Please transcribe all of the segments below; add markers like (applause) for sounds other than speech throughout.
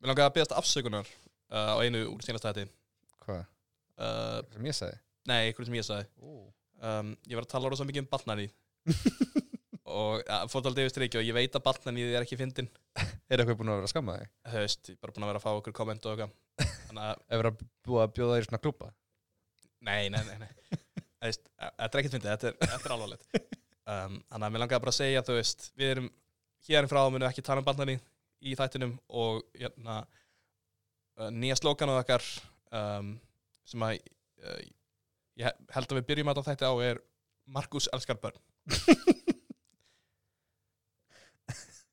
Mér langaði að beðast afsökunar uh, á einu úr sínast hætti Hvað? uh, Það sem ég sagði? Nei, einhverju sem ég sagði Ú. um, Ég var að tala rosa mikið um Batnani og ja, fótaldið yfir streiki og ég veit að Batnani er ekki fyndin (laughs) Er eitthvað búin að vera að skamma þig? Þú veist, ég er bara búin að vera að fá okkur komment og eitthvað Þannig að, Er verið að búa að bjóða þér í svona klúpa? nei, nei, nei, nei. Þú veist, að- Þetta er ekkert fyndið, þetta er, þetta er alvarlegt um, Þannig að mér langaði bara að segja, þú veist Við erum hér frá, munum ekki tala um Batnani í þættinum og hérna, uh, nýja slókanu okkar um, sem að uh, ég he- held að við byrjum að þetta á er Markus elskar börn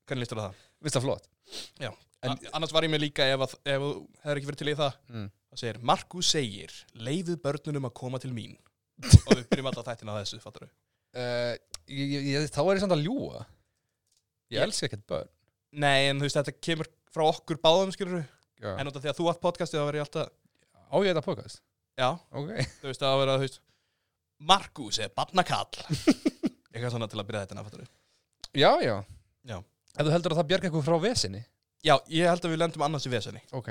Hvernig lístur það? Vist það flott? En- En, annars var ég með líka ef, að, ef þú hefur ekki verið til í það Mm. það segir, Markus segir, leiðu börnunum að koma til mín og við byrjum alltaf þættina á þessu, fattar við Uh, ég, ég, ég, þá er ég samt að ljúa. Ég Ég- elska ekkert börn. Nei, en þú veist, þetta kemur frá okkur báðum, skilur við Já. en út af því að þú átt podcastið, þá verður ég alltaf Á ég þetta podcast? já, Ok. þú veist, þá verður það, þú veist Markus er barnakall (laughs) eitthvað svona til að byrja þetta, fattar við Já, já. Já. Ef þú heldur að það bjarga eitthvað frá vesinni? Já, ég held að við lendum annars í veseni Ok. Ok.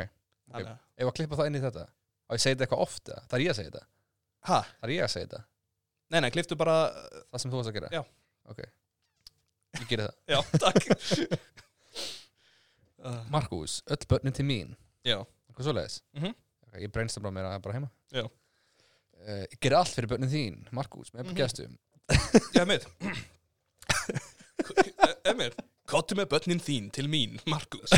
Þannig að- Ef að klippa það inn í þetta? Og ég segi þetta eitthvað ofta? Það er ég að segja þetta? Ha, Það er ég að segja þetta? nei, nei, kliftu bara Það sem þú varst að gera? Já. Ok. Ég gerir það. Já, takk (laughs) uh, Markus, öll börnin til mín. Já. Eitthvað svoleiðis? Mhm. Ok, ég breynst bara meira bara heima. Já. Uh, ég gerir allt fyrir börnin þín, Markus, með mm Mhm. gestum. Já, (laughs) Emir Emir Kottu með börnin þín til mín, Markus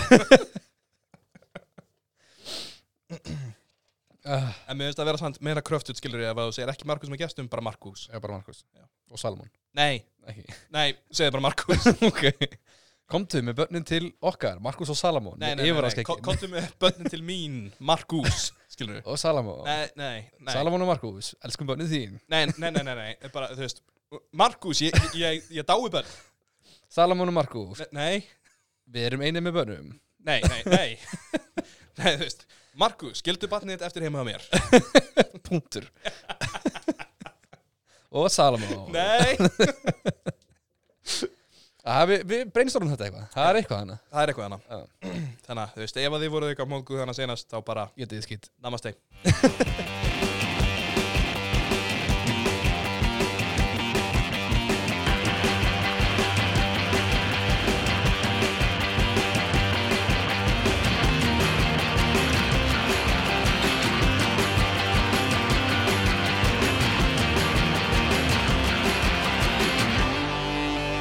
Uh, En mér finnst að vera samt meira kröftut skilur ég ef að þú segir ekki Markus með gestum, bara Markus ég er bara Markus. Já. Og Salmon. Nei, Ekki. nei, segðu bara (laughs) Markus ok. Komdu með börnin til okkar, Markus og Salomon. Nei, nei, nei, Ég var að nei. skeggi. ko- Kottu með börnin til mín, Markus skilur ég Og Salomon. Nei, nei, nei Salomon og Markus, elskum börnin þín. Nei, nei, nei, nei, nei, bara, þú veist Markus, ég, ég, ég dái börn Salomon og Markus, Ne- Nei, við erum einið með börnum. nei, nei, nei (laughs) Nei, þú veist Markus, skildu barnið þitt eftir heima á mér Punktur. og Salomon. Nei Ah, við við breynstormum þetta eitthvað. Það er eitthvað hana. Það er eitthvað hana Já. Þannig að, þú veist, ef að þið voruð eitthvað móðguð hana senast þá bara Ég þetta er skýtt. namaste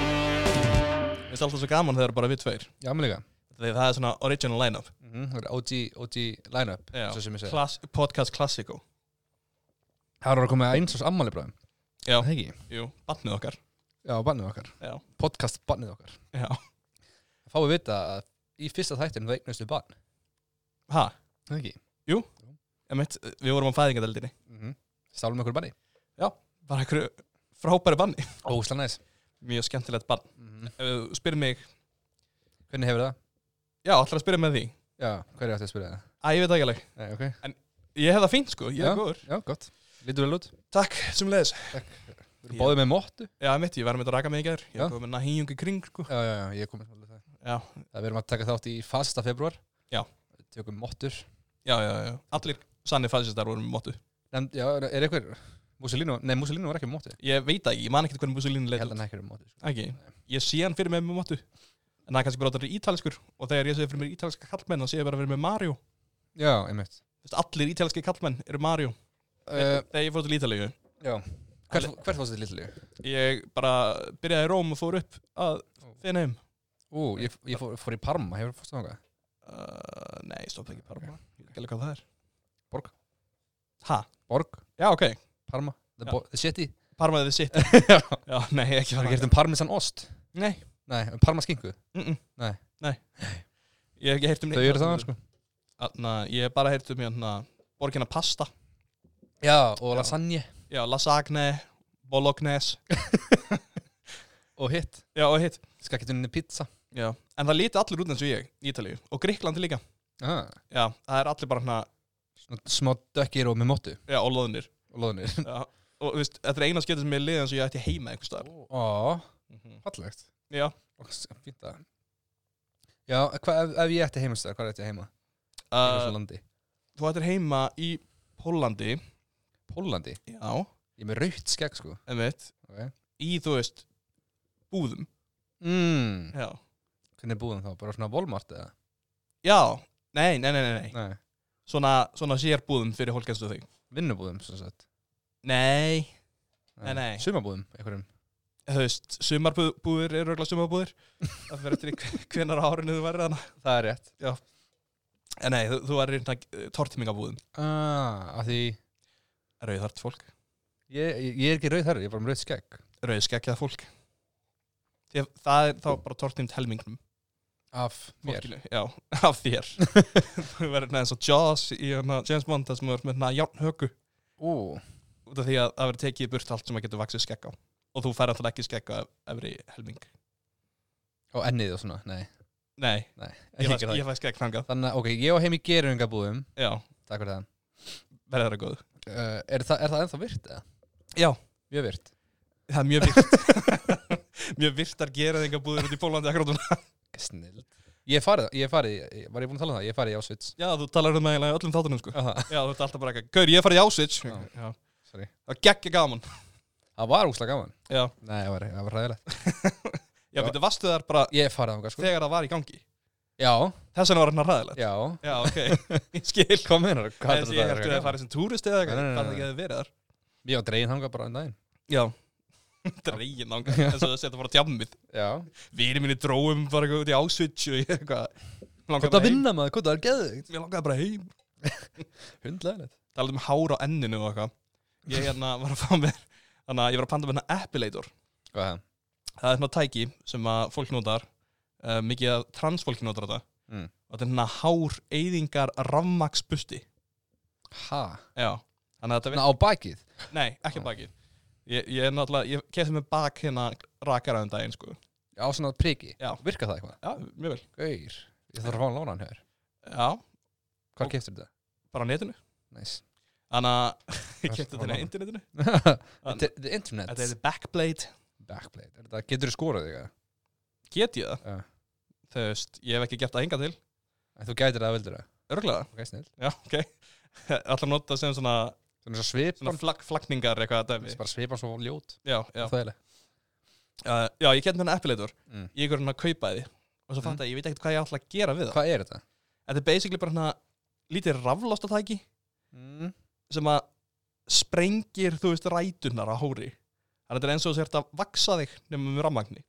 Mér finnst alltaf svo gaman þegar bara við tveir Já, mér líka. Þegar það er svona original line-up Mm -hmm. OG, OG line-up, Mhm. Já. svo sem ég segi. Klass, Podcast Classico Það eru að koma eins og ammali bráðum. Já. Það ekki? Jú, batnið okkar Já, bannið okkar. Já. Podcast bannið okkar. Já. Fáum við vita að í fyrsta þættin það eignustu bann. Ha, Það ekki? emitt, við vorum á fæðingadeldinni Mm -hmm. Stálum okkur banni. Bara einhverju frábæri banni Ósla næs. Mjög skemmtilegt bann Mhm. Ef þú spyrir mig, Hvernig hefur það? já, allar að spyrja með því Já, hverju ætti að spyrja það? Æ, ég veit ekki alveg Nei, ok. Ég hef það fínt sko, ég er góður Já, gott. Lítur vel út. Takk, sem leiðis Við erum Já. báðið með móttu. Já, emitt, ég var með að raka mig í gær Ég Já. hef komið með hýjungi kring sko Já, já, já, ég komið svolítið það. Já, Það verðum að taka þátt í fasta februar. Já. Tökum móttur. já, já, já Allir sannir fæðsistar voru með mótu Nefnd, já, er eitthvað... Mussolino, nei, Mussolino var ekki með móttu. Ég veit það ekki, ég man ekkert hvernig Mussolini Ég leit held út hann ekki með móttu. Sko. Ekki, ég sé hann fyrir mig með mótu En það er kannski bara að það er ítalskur Og þegar ég sé fyrir mér ítalska kallmenn þá sé ég bara fyrir mig Mario Já, einmitt. Þú veist, allir ítalski kallmenn eru Mario Uh, Þegar ég fór til Ítalíu hvert, hvert fórstu til Ítalíu? Ég bara byrjaði í Róm og fór upp að finna heim Ú, ég, ég fór, fór í Parma, hefur fórstu þangað? uh, Nei, stoppa ekki Parma Ég veit ekki alveg hvað það er Borg. Ha? Borg, Já, ok Parma, the, Já. bo the city. Parma þið (laughs) sitt Já, nei, ekki Það er fara gert um parmesan ost. Nei, Nei, um parma skingu. mm -mm. Nei. Nei Ég hef ekki heyrt um Þau eru það, sko. Þarna, Ég hef bara heyrt um hérna Borgina pasta Já, og Já. lasagne. Já, lasagne Bolognese Og hitt. Já, og hitt Skakketunni pizza. Já En það líti allir út eins og ég í Ítalíu Og Gríklandi líka Ah, Já, það er allir bara hérna svona smá dökkir og með móttu Já, og loðnir og loðinir. Já, og þú veist, þetta er eina skiptið sem ég liði eins og ég ætti heima einhvers staðar. Ó, mhm. fallegt. Já, Og s- Fínt það. Já, hva, ef, ef ég ætti heimastöðar, hvað ætti ég heima? í uh, þessu landi þú ættir heima í Pólandi Pólandi, já, ég er með rautt skegg sko einmitt Ok. í þú veist búðum mm. já, Hvernig er búðum þá? Bara svona Walmart eða? já. Nei, nei, nei, nei, nei. Nei, Svona, svona sér búðum fyrir hólkenslu þig vinnubúðum svo sett nei, Nei, nei. Sumabúðum, einhverjum þú veist, sumarbúður eru örgulega (laughs) sumarbúður það fyrir eftir í hvenar á árinu þú verður þannig Það er rétt en nei, þú, þú verður hérna eh, tortimingabúðum ah, af Því rauðhart fólk, ég, ég, ég er ekki rauð þar, ég er bara með rautt skegg rauðskekkjað fólk Því að það er þá bara tortimt helmingnum Af mér fólkinu, já, (laughs) af þér þú verður neðan svo Jaws í hana, James Bond þar sem þú verður með hana járnhöku Ú, út af því að það verður tekið í burt allt sem að getur vaksið skegg á og þú fær alltaf ekki skegg á efri helming og ennið og svona, nei nei, Nei, ég, ekki ég, það ég fæ skegg þangað Þannig að, ok, ég á heim í gerungabúðum já, Takk fyrir það verður það góð uh, er, þa er það ennþá virt eða? já, Mjög virt það er mjög virt (laughs) mjög virtar geraðingar búður út í Pólandi akkur á núna Snill Ég hef farið, ég hef farið, ég- var ég búin að tala um það? Ég hef farið í Auschwitz já, þú talar um það eiginlega í öllum þáttunum sko. Aha. já, þú ert alltaf bara eitthvað, gaur, ég er farið í Auschwitz Já. já, Sorry. það var geggja gaman Það var úslega gaman já, Nei, það var, það var ræðilegt já, Já. betur vastu þar bara Ég hef farið ánga, sko þegar það var í gangi Já, þess vegna var hann ræðilegt já já, ok, (laughs) ég skil Hvað meinar það? Hvað En ég held að það farið sem túrist eða eitthvað, Nei, nei, nei, hvað það nei. getur verið þar Ég var dregin ánga bara um daginn (laughs) Já Dregin ánga, þess að það setja bara á tjammið Já Vinir minni dróum bara eitthvað út í Auschwitz og ég eitthvað Langaði Hvað það bara heim vinna maður? Hvað það er geðvikt? Mér langaði bara heim Hundlegilegt Talandi um hár á enninu og eitthvað Ég hérna var að fá mér Þannig að ég var að panta með hérna Appilator Hvað er það? Það er svona tæki sem að fólk notar uh, Mikið að transfólki notar þetta Mm. Og þetta er hérna hár eyðingar rafmaksbusti Ha? Já Þannig að þetta Ná, á bakið? Nei, ekki Já. baki Ég, ég er náttúrulega, ég kefti með bak hérna rakaraðum daginn, sko Á svona priki? Já. Virka það eitthvað? Já, mjög vel Gauir Ég þarf að fá að lána hann hér Já, Hvað keftur þetta? bara á netinu (laughs) Næs Þannig að ég Hvað kefti var þetta hérna á það? internetinu The the internet Þetta er backblade Backblade Er þetta- Getur þú skorað þig? eða? Get ég það? Já. Þú veist, ég hef ekki gert það hinga til En Þú gætir það að vildur það Örglega Ok, snill Já, ok (laughs) Alltaf nota sem svona, Svona svo svona svipan flag, flagningar eitthvað að dæmi Bara svipan svo ljót Já, já Það er leið uh, Já, ég kefti með hérna appilator Mm. Ég er hérna að kaupa því Og svo Mm. fatt að ég veit ekkert hvað ég ætla að gera við það Hvað er þetta? Þetta er basically bara hérna lítið raflostatæki Mm. sem að sprengir, þú veist, rætunar á hóri þannig að þetta er eins og þú sért að vaksa þig nema með rammagni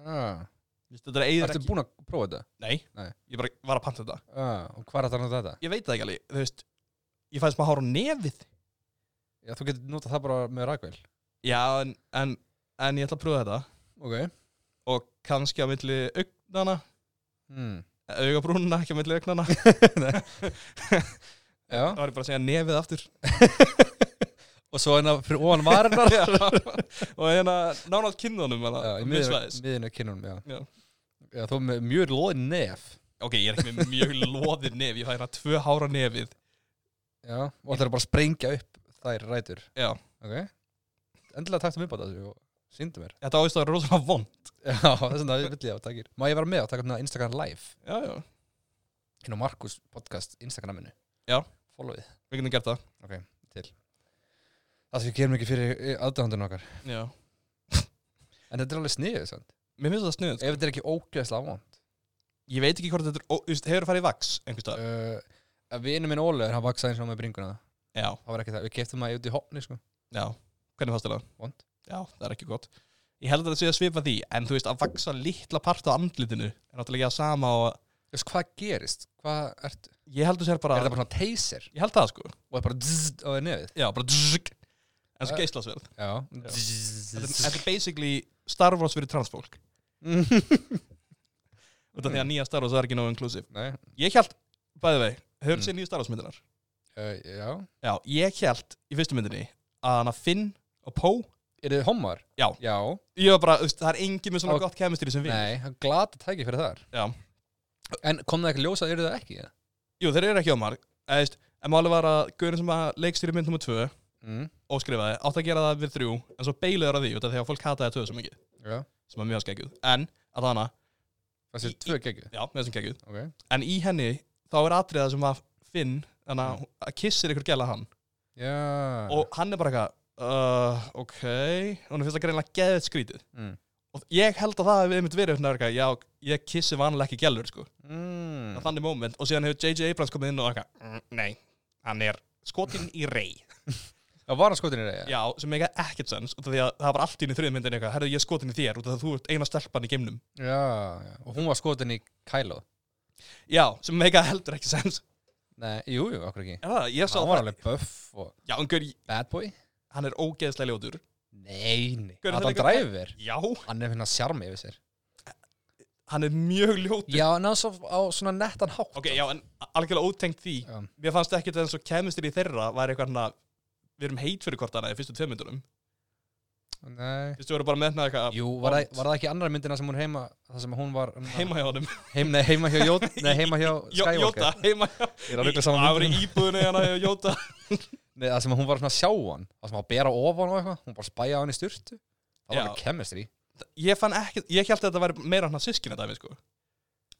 Ah. þetta er eigður Ertu ekki búin að prófa þetta? Nei, Nei. ég bara var að panta þetta Ah. Og hvað er þetta að nota þetta? ég veit það ekki alveg, þú veist ég fæði smá hár á nefið Já, þú getur notað það bara með rækvel já, en, en, en ég ætla að pröfa þetta Ok og kannski á milli augnana mm. augabrúnuna, ekki á milli augnana Já þá var ég bara að segja nefið aftur Og svo hérna fyrir ofan (laughs) varinnar Já. og hérna nánast kinnunum Já, í miðsvæðis miðinu kinnunum, já Já. Já, þú er með mjög loðin nef ok, ég er ekki með mjög loðið nef ég fæði hérna tvö hár á nefið Já Og það er bara að sprengja upp þær rætur Já. Ok Endilega taktum upp á þessu og síndu mér þetta áist að vera rosalega von Já, (laughs) þess vegna vill ég á takkir Má ég vera með að taka hérna Instagram live já, já, Hérna á Markus podcast Instagraminu Já. Followið við getum gert það Það sem við gerum ekki fyrir aðdæðandun okkar Já, En þetta er alveg sniðið, sant? mér finnst það sniðut Ef þetta er ekki ógeðslega ávond Ég veit ekki hvort þetta er, ó, þú veist, hefur það farið í vaks einhvers staðar? uh, Vinnu minn Ólegur, hann vaksaði eins og með bringuna Já, Það var ekki það, við keftum það út í hopni, sko já, hvernig fannst þér það? Vont. Já, það er ekki gott Ég held að það sé að svipa því, en þú veist að vaksa litla part á andlitinu er náttúrulega ekki að sama og Þú veist, hvað gerist? Hvað ert, ég held þú sér bara, er það bara svona taser ég held það sko og það er bara dzz á því nefið? Já, bara dzzzk En svo Það- geislasverð Já. Þetta er- þetta er basically Star Wars fyrir transfólk Út af því að nýja Star Wars er ekki nógu inclusive (laughs) Nei, Ég held, bæði vei, hefur Mm. þú séð nýju Star Wars myndinar? uh, já. Já, ég held í fyrstu myndinni að hana Finn og Poe Er þið hommar? Já. Já. Ég var bara, þú veist, það er engin með svona Ok. gott kemistri sem við Nei, hann glata tæki fyrir þar. Já. En kom það ekki ljós að eru það ekki? eða? Jú, þeir eru ekki ómar Eðist, En máli var að Guðurinn sem að leikstýri mynd nr. 2 Mm. og skrifaði átt að gera það við þrjú en svo beilaður að því út af því að fólk hataði tvö svo mikið Já. sem er mjög skeggjuð En, að hana, Það sé Í- tvö geggjur. já, með þessum skeggjuð Ok. En í henni þá er atriða sem að Finn þannig að, að kissir ykkur gæla hann Mm. Já og hann er bara eitthvað uh, ok, og hann finnst það greinlega geðið skrítið mm. og ég held að það hefði einmitt verið svona eitthvað, já, ég kissi vanalega ekki gælur sko, mm. Mm. þannig moment og síðan hefur J.J. Abrams komið inn og eitthvað, mm, nei, hann er skotin í rey Já, var hann skotin í reyja? já, sem eiga ekkert sens, út af því að það var allt í einu þriðum myndin eitthvað, herðu ég er skotin í þér út af því að þú ert eina stelpan í geimnum já já. Og hún var skotin í Kylo já, sem eiga heldur ekki sens Nei, jú, jú, okkur ekki Já, ég sá Hann var alveg buff og já, en gaur, bad boy hann er ógeðslega ljótur Nei, nei Hver er Adam þetta Driver já, Hann er hérna sjarmi yfir sér hann er mjög ljótur Já, en hann svo á svona nettan hátt ok, já, en algjörlega ótengt því Já. mér fannst ekkert eins og kemistir í þeirra var eitthvað hann að við erum heit fyrir hvort annað í fyrstu tveim myndunum Nei fyrstu voru bara meðnað eitthvað Jú, var það, var það ekki annar myndina sem hún heima Það sem hún var um, heima hjá honum heim, nei, heima hjá Jóta (laughs) Nei, heima hjá Jó- Jóta, Skywalker heima hjá Ég er að ruggla Það saman voru myndina í íbúðinu hérna hjá Jóta Nei, það sem hún var svona að sjá hann Það sem hann bera ofan og eitthvað Hún bara spæja hann í styrtu Það var Já. alveg chemistry Ég fann ekki, ég held að þetta væri meira hann að sískina dæmi sko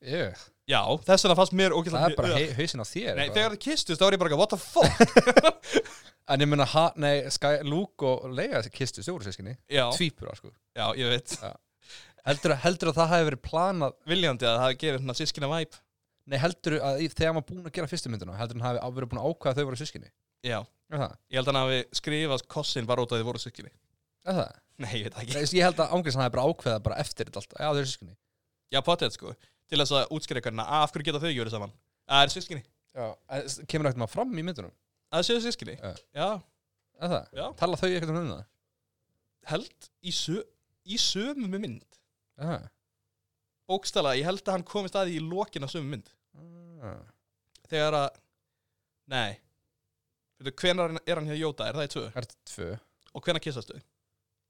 Ugh, Já, þess vegna fannst mér ógæslega Það er bara hei- hausinn á Nei, þér eitthvað. þegar það kistust þá var ég bara eitthvað, what the fuck En ég meina, ha- nei, Sky, Luke og Leia kistu stjórnsískinni (laughs) Já, Tvípura, sko já, ég veit heldur, heldur að það hafi verið planað Viljandi að það gefið hann að sískina væp Nei, heldur að í- þegar maður búin að gera fyrstu myndina Heldur hann hafi á- verið búin að ákvæða að þau voru sískinni Já, Er það? ég held að hann hafi skrifað kossin var út að þið voru sískinni Er það? Nei, ég veit það ekki Nei, ég held að ángriðs hann hafi bara ákveða bara eftir þetta allt Já, þau eru sískinni Já, potið sko Til þess að útskýra hvernig af hverju geta þau gjörið saman Það er sískinni Já en s- Kemur ekkert maður fram í myndunum Það séu sískinni Já. Já, Er það? já Tala þau ekkert um það? Held í, sö í sömu mynd Er það? Bókstala, ég held að hann komist að því í lokin af sömu mynd Ah. Þegar að Nei Veitu, hvenar er hann hjá Jóta? Er það í tvö? Það er tvö Og hvenar kissastu?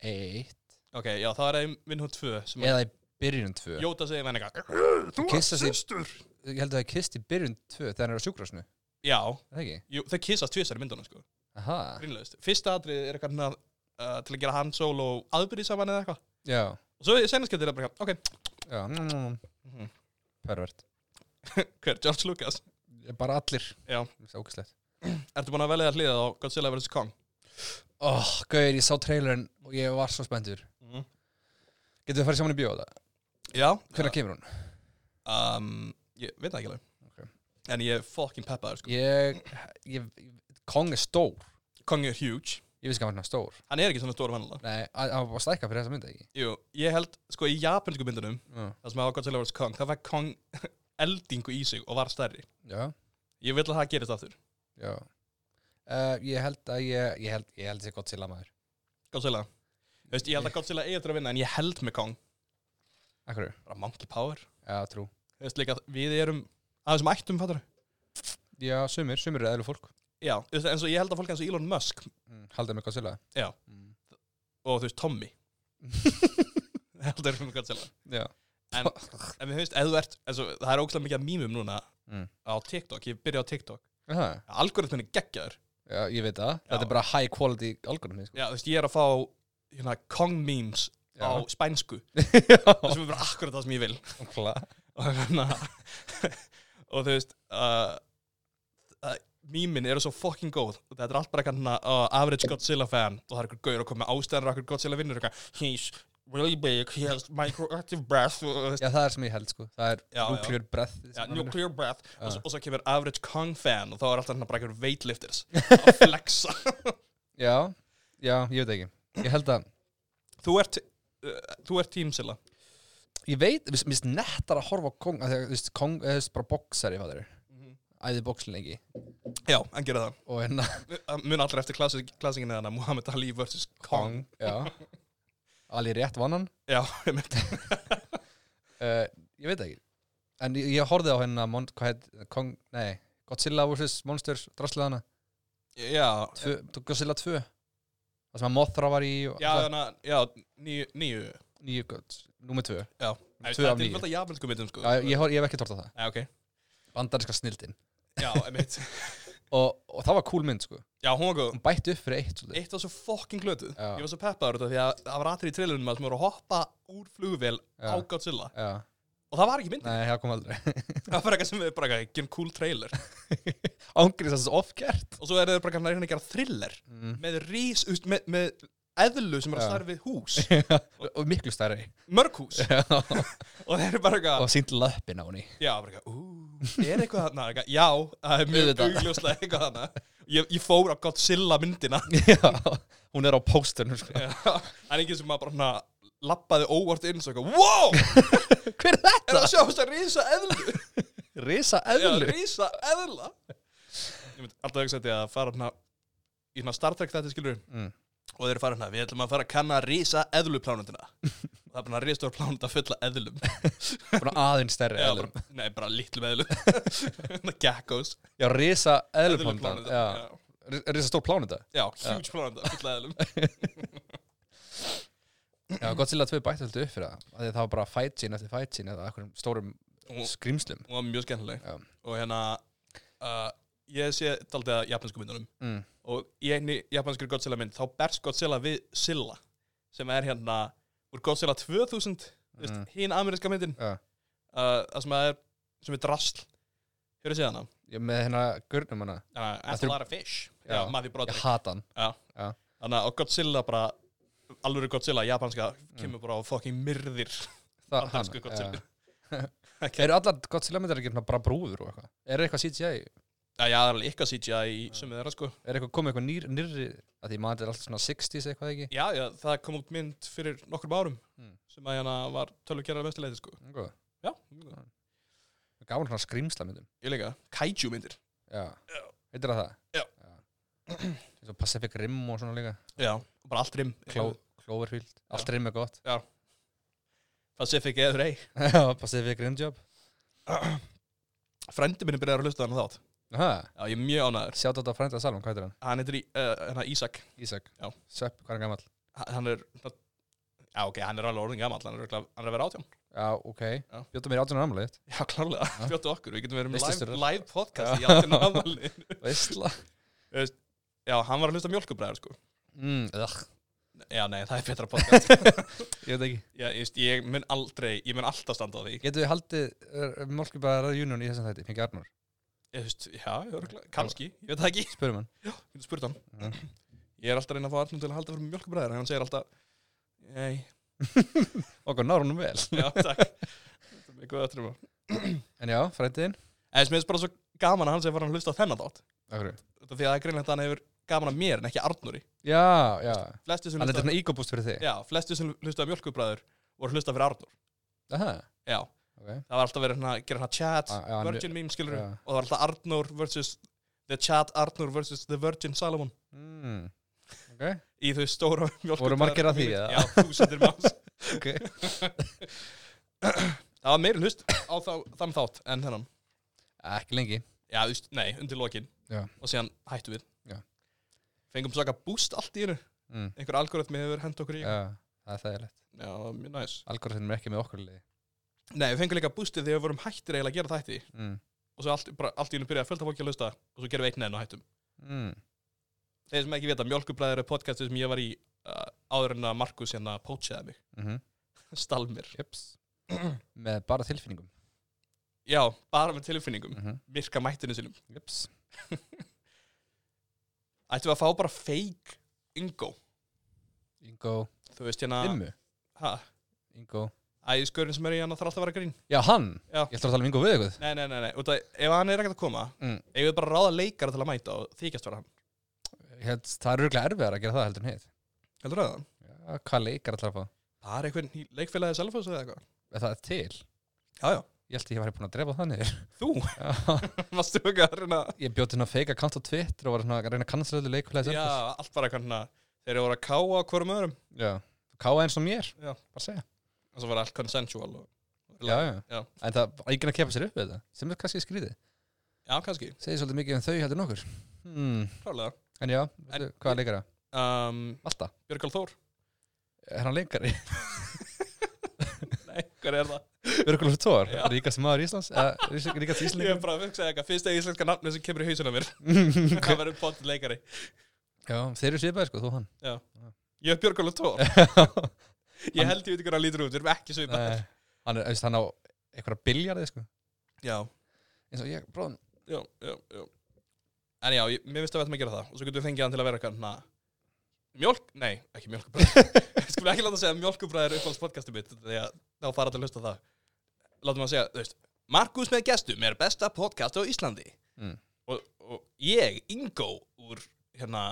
Eitt Ok, já, það er ein minn hún tvö sem að Eða í byrjun tvö Jóta segir með eitthvað Þú kissa sig- sýstur Ég held að það er kist í byrjun tvö Þegar hann er á sjúkrasnu Já, Það ekki? jú, þau kissast tvisar í myndunum sko Aha Grínlegust Fyrsta atrið er eitthvað uh, til að gera hann sól og aðbyrði saman eða eitthvað Já Og svo senarskjöldir er það bara eitthvað, ok, Já mm. Mhm. Pervert hver, George Lucas Bara allir Já. Það er ógislegt Ertu búin að velja að hliða á Godzilla vs. Kong? Oh, gauðir, ég sá trailerinn og ég var svo spenntur. Mm. Getur við farið saman í bíó á það? Já Hvernig kemur hún? Um, ég veit það ekki alveg Ok. En ég er fucking peppaður sko Ég, ég, Kong er stór. Kong er huge Ég vissi ekki að hann er stór. Hann er ekki svona stór vanlega Nei, hann- hann var bara stækka fyrir þessa mynda, ekki? Jú, ég held, sko í japansku myndunum Já. Það sem hafa Godzilla vs. Kong Það fæk Kong (laughs) eldingu í sig og var stærri Já, Ég vil að það gerist aftur já. Uh, ég held að ég, ég held, ég held þessi gott silla maður. Godzilla Þú veist, ég held að Godzilla eigi eftir að vinna En ég held með Kong Akkur? Bara monkey power Já, trú. Þú veist líka, við erum aðeins um ættum fattur Já, sumir, sumir eru eðlu fólk. Já, þú veist, eins og ég held að fólk eins og Elon Musk Mm, haldið með gott silla. Já. Mm. (laughs) Og þú veist, Tommy (laughs) Heldur um Godzilla Já. En- En við höfumst, eða þú ert, eins og það er ógæslega mikið af mýmum núna Mm. á TikTok, ég byrja á TikTok. Er Það, Algoritmin er geggjaður. já, ég veit það. Þetta Já. er bara high quality algoritmi, sko. Já, þú veist, ég er að fá hérna, Kong memes Já. á spænsku. Það (laughs) Já, sem er bara akkurat það sem ég vil. nákvæmlega. Og, hérna, (laughs) og þú veist, uh, uh, mýmin eru svo fucking góð. Og Þetta er allt bara kannan uh, average Godzilla fan og það er einhver gaur að koma með ástæðanur okkur Godzilla vinnur og eitthvað, he's really big, he has microactive breath, og, þú veist, Já, það er sem ég held, sko. Það er Já, já. nuclear breath. Já, sem- nuclear breath og, Já. svo, og svo kemur average Kong fan og þá er alltaf hérna bara einhver (laughs) weightlifters að flexa Já, já, ég veit ekki Ég held að, Þú ert, uh, þú ert team Silla ég veit, mér finnst nettar að horfa á Kong að því að, þú veist, Kong, eða þú veist, bara boksari hvað þeir eru, Mhm. æði boksin lengi Já, hann gerir það og hérna Það Mun allir eftir klassi- klassinginni þannig Muhammad Ali vs. (laughs) Kong Kong, já alveg rétt vann hann Já, (laughs) einmitt. uh, ég veit ekki, en ég, ég horfði á hérna mon, hvað heit, Kong, nei Godzilla vs. Monsters, draslið hana já, tvö, Godzilla 2 það sem að Mothra var í og já, það- þannig að- já, níu, níu nýju Gods, númer 2 já, Já, Tvö það af er níu. tilfælt að jafnsku myndum sko ég, hor- ég hef ekki tort á það, Já, ok bandarinska snildin Já, einmitt og, og það var cool mynd, sko, Já, hún var góð hún bætti upp fyrir eitt svolítið. Eitt var svo fucking glötuð Já. Ég var svo peppaður út af því að það var atrið í trillunum að sem voru að hoppa úr flugvél Já. á Godzilla Já, og það var ekki myndin Nei, það kom aldrei (laughs) það var eitthvað sem við bara ekki en cool trailer Ángrið þess að oft gert og svo er það bara eitthvað hérna að gera thriller með rís, þú veist, með, með eðlu sem er að Já. starfi við hús Og miklu stærri mörg hús (laughs) Og og þeir eru bara eitthvað sínt löppin á henni já, bara eitthvað, ú, er eitthvað þarna eitthvað, já, það er mjög Auðvitað. augljóslega eitthvað þarna ég, ég fór á Godzilla myndina Já, hún er á pósternum (laughs) sko. Já, það er enginn sem maður bara hana, lappaði óvart inn svo eitthvað, wow, Hver er er það þetta? að sjá þess að rísa (laughs) eðlu? Risa Já, eðlu rísa eðla. Ég myndi alltaf ekki setja að fara hana, í hana Star Trek þetta skilur Mm. og þeir eru fara hana, við ætlum að fara að kanna rísa eðlu plánundina. (laughs) það er bara rístur plánunda fulla eðlum. Búin aðeins stærri Já, eðlum bara, nei, bara litlum (laughs) eðlum. Svona Geckos. Já, risa eðluplánda Eðluplánunda, Já, já. risa stór plánda Já, huge plánunda, fulla eðlum. (laughs) Já, Godzilla 2 bætti alltaf upp fyrir það af því að Það var bara fight scene eftir fight scene eða einhverjum stórum Og- skrimslum Hún var mjög skemmtileg. Já. Og hérna, uh, ég sé daldið að japansku myndunum. mm. og í einni japanskri Godzilla mynd þá berst Godzilla við Silla sem er hérna úr Godzilla 2000 þú veist, Mm. hinn ameríska myndin Já. uh, það sem er sem er drasl hefur þið séð hana? Ég með hérna gurnum hana Uh, Þetta After er- a lot of fish Já. já, Matthew Ég Broderick hata hann þannig að og Godzilla bara alvöru Godzilla japanska kemur bara á fucking myrðir (laughs) Það Bandarísku Godzilla. já. Eru allar Godzilla myndar ekki bara brúður og eitthvað? Er eitthvað CGI? já, já, það er alveg ykkar CGI í sumið þeirra sko Er eitthvað komið eitthvað nýr, nýrri að því maður þetta er alltaf svona 60s eitthvað ekki? já, já, það kom út mynd fyrir nokkrum árum Mm. sem að hérna var tölvukerra mestuleiti sko Góð. já, Gáðan svona skrimsla myndum. ég líka, kaiju myndir Já. Já. Heitir það það? Já. Svo Pacific Rim og svona líka. já, bara allt rim Kló, Cloverfield. Allt rim er gott. (laughs) Pacific eður ei Já, Pacific Rim Job. Frendi minni byrjar að hlusta þannig þátt Aha. Já, ég er mjög ánæður Sjátt á þetta frænda Salom, hvað heitir hann? Hann heitir í, uh, hana, Ísak Ísak. Já. Svepp, hvað er hann gamall? H- Hann er Já, ok, hann er alveg orðin gamall Hann er, örugglega- hann er að vera átján Já, ok. Já. Bjóttu mér átjónu ámlega þitt. (laughs) Já, klárlega Fjóttu okkur Við getum verið með Veislustur. live, live podcast Já. í átján ámali Veistla. (laughs) Já, hann var að hlusta mjölkubræður sko Mm, ugh, Já, nei, það er betra podcast ég veit ekki. Já, ég, veist, ég mun aldrei Ég mun alltaf standa á því Getum við haldið Málkibæðar Union í þessum þætti? Fengi Arnur. Ég veist, já, örgulega Kanski, ég veit það ekki Spörum hann. Ég getur spurt hann Mhm. Ég er alltaf að reyna að fá Arnum til að halda fyrir mjölkubræður En hann segir alltaf Nei, Okkur náður húnum vel. já, takk (laughs) Þetta er mjög góð ötrum En já, frændiðin. En þess mér finnst bara svo gaman að hann sem var að hlusta á þennan þátt Akkur. Þetta því að það er greinlegt að hann hefur gaman að mér en ekki Arnúri Já, já. Flestir sem Hann er hlusta svona ígobúst fyrir þig. Já, flestir sem hlusta á mjölkubræður voru hlusta fyrir Arnúr Aha, Já, ok. það var alltaf verið hérna að gera hérna chat Ah, já, hann- Virgin meme skilur Já. og það var alltaf Arnúr versus The chat Arnúr versus The Virgin Salomon Mm. Ok. í þau stóra (laughs) mjölkubræður margir að því, eða? Já, þúsundir manns (laughs) (laughs) Ok. Það var meiri hlust á þá, þann þátt en þennan Ekki lengi. Já, þú veist, nei, undir lokin Já. og síðan hættu við Já. Fengum svaka boost allt í hennu Mm. einhver algoritmi hefur hend okkur í Já, það er þægilegt. Já, það var mjög næs Algoritminn er ekki með okkur liði. Nei, við fengum líka boostið þegar við vorum hættir eiginlega að gera þætti Mm. og svo allt, bara, allt í unum byrjaði að fölta fólki að lusta og svo gerum við einn enn og hættum Mm. Þeir sem ekki vita, Mjölkubræður er podcastið sem ég var í uh, áður en að Markus hérna pótsaði mig (laughs) Mm -hmm. Stalmir Jeps. (clears throat) með bara tilfinningum. Já, bara með tilfinningum, Mm -hmm. virka mættinu sinum Jeps. Ættum við að fá bara fake Ingo Ingo. Þú veist hérna Dimmu. ha, Ingo. Æðisgörin sem er í hann þarf alltaf að vera grín Já, hann. Já. Ég ætla að tala um Ingo við eitthvað. Nei, nei, nei, nei, út að ef hann er ekkert að koma Mm. eigum við bara að ráða leikara til að mæta og þykjast vera hann Hér, Hérna, það er örgulega erfiðar að gera það heldur en hitt. Heldur það? Já, hvað leikar ætlar að fá? Það er einhvern í leikfélagið Selfoss eða eitthvað Er það til? Já, já Ég held að ég var búin að drepa það niður. Þú, Já. varstu ekki að reyna ég bjóti hérna feika kant á Twitter og var svona að reyna að kannast öllu leikulega Já, allt bara kannan þeir eru að vera að káa hverjum öðrum Já. Káa eins og mér. Já. Bara segja. og svo var allt consensual og... Já, já. Já. En það var ekki að kepa sér upp við þetta. Sem er kannski skrítið. já, kannski, Segir svolítið mikið um þau heldur nokkur. Hmm. klálega En já, en, hvað er leikara? um, Valda. Björgál Þór, Er hann (laughs) leikari? (laughs) nei, hver er það? Björgulur Thor, Já. ríkast maður (laughs) Íslands? Eh, eða ríkast- Ríkast Ég er Íslingur? bara að hugsa eitthvað, fyrsta íslenska nafni sem kemur í hausuna mér (laughs) það verður potið leikari (laughs) Já, þeir eru svipaði sko, þú og hann. Ég er (laughs) Björgál Þór, ég held ég veit ekki hvað hann lítur út, við erum ekki svo í Nei, Eh, hann er, veist, hann á eitthvað biljarði sko já, eins og ég, bróðum, já, já, já En já, ég, mér finnst að við ætlum að gera það og svo getum við fengið hann til að vera eitthvað na, mjólk, nei, ekki mjólkubræður Skulum ekki láta að segja mjólkubræður uppáhalds podcastið mitt því að þá fara til að hlusta á það Látum að segja, þú veist Markus með gestum er besta podcast á Íslandi Mm. og, og ég, Ingo úr, hérna,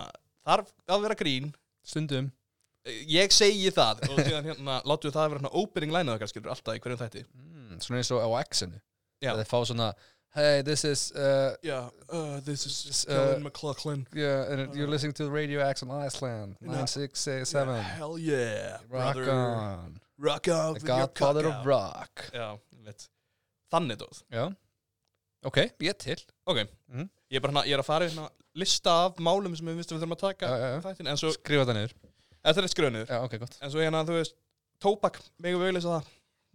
þarf að vera grín stundum ég segi það og síðan hérna, látum við það að vera hérna opening line okkar skilur alltaf í hverjum þætti mm, svona eins og á X-inu Já. þeir fá svona, hey, this is uh, Yeah, uh, this is uh, Kellen McLaughlin yeah, and you're listening to Radio X on Iceland 9667 Hell yeah, Rock on, Rock on the godfather of rock Já, veit Þannig dóð Já, ok, ég er til Ok, Mhm. ég er bara hana, ég er að fara hérna lista af málum sem við vistum við þurfum að taka Já, já, já. þættin, en svo, Skrifa það niður þetta er skrönur Já, ok, gott En svo hérna, þú veist, tóbak, megum við auðvitað það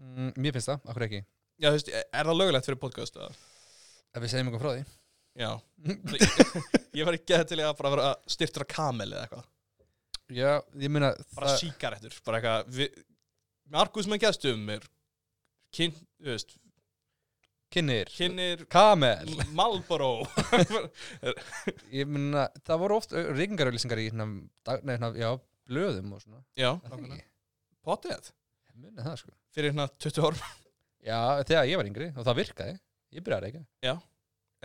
mm, Mér finnst það, akkur ekki Já, þú veist, er það lögulegt fyrir podcast? eða? Ef við segjum eitthvað frá því (laughs) Já Ég, ég var ekki að til í að bara vera styrtra kamel eða eitthvað Já, ég meina bara það- síkarettur bara eitthvað við, Markus með gestum er kyn, þú veist, Kynir kynir Kamel (laughs) Malboro Ég meina, það voru oft reykingarauðlýsingar í hérna, dag, nei, hérna, já, blöðum og svona já, Það er ekki, potið Ég muni það sko fyrir hérna 20 (laughs) árum Já, þegar ég var yngri og það virkaði Ég byrjaði ekki Eða,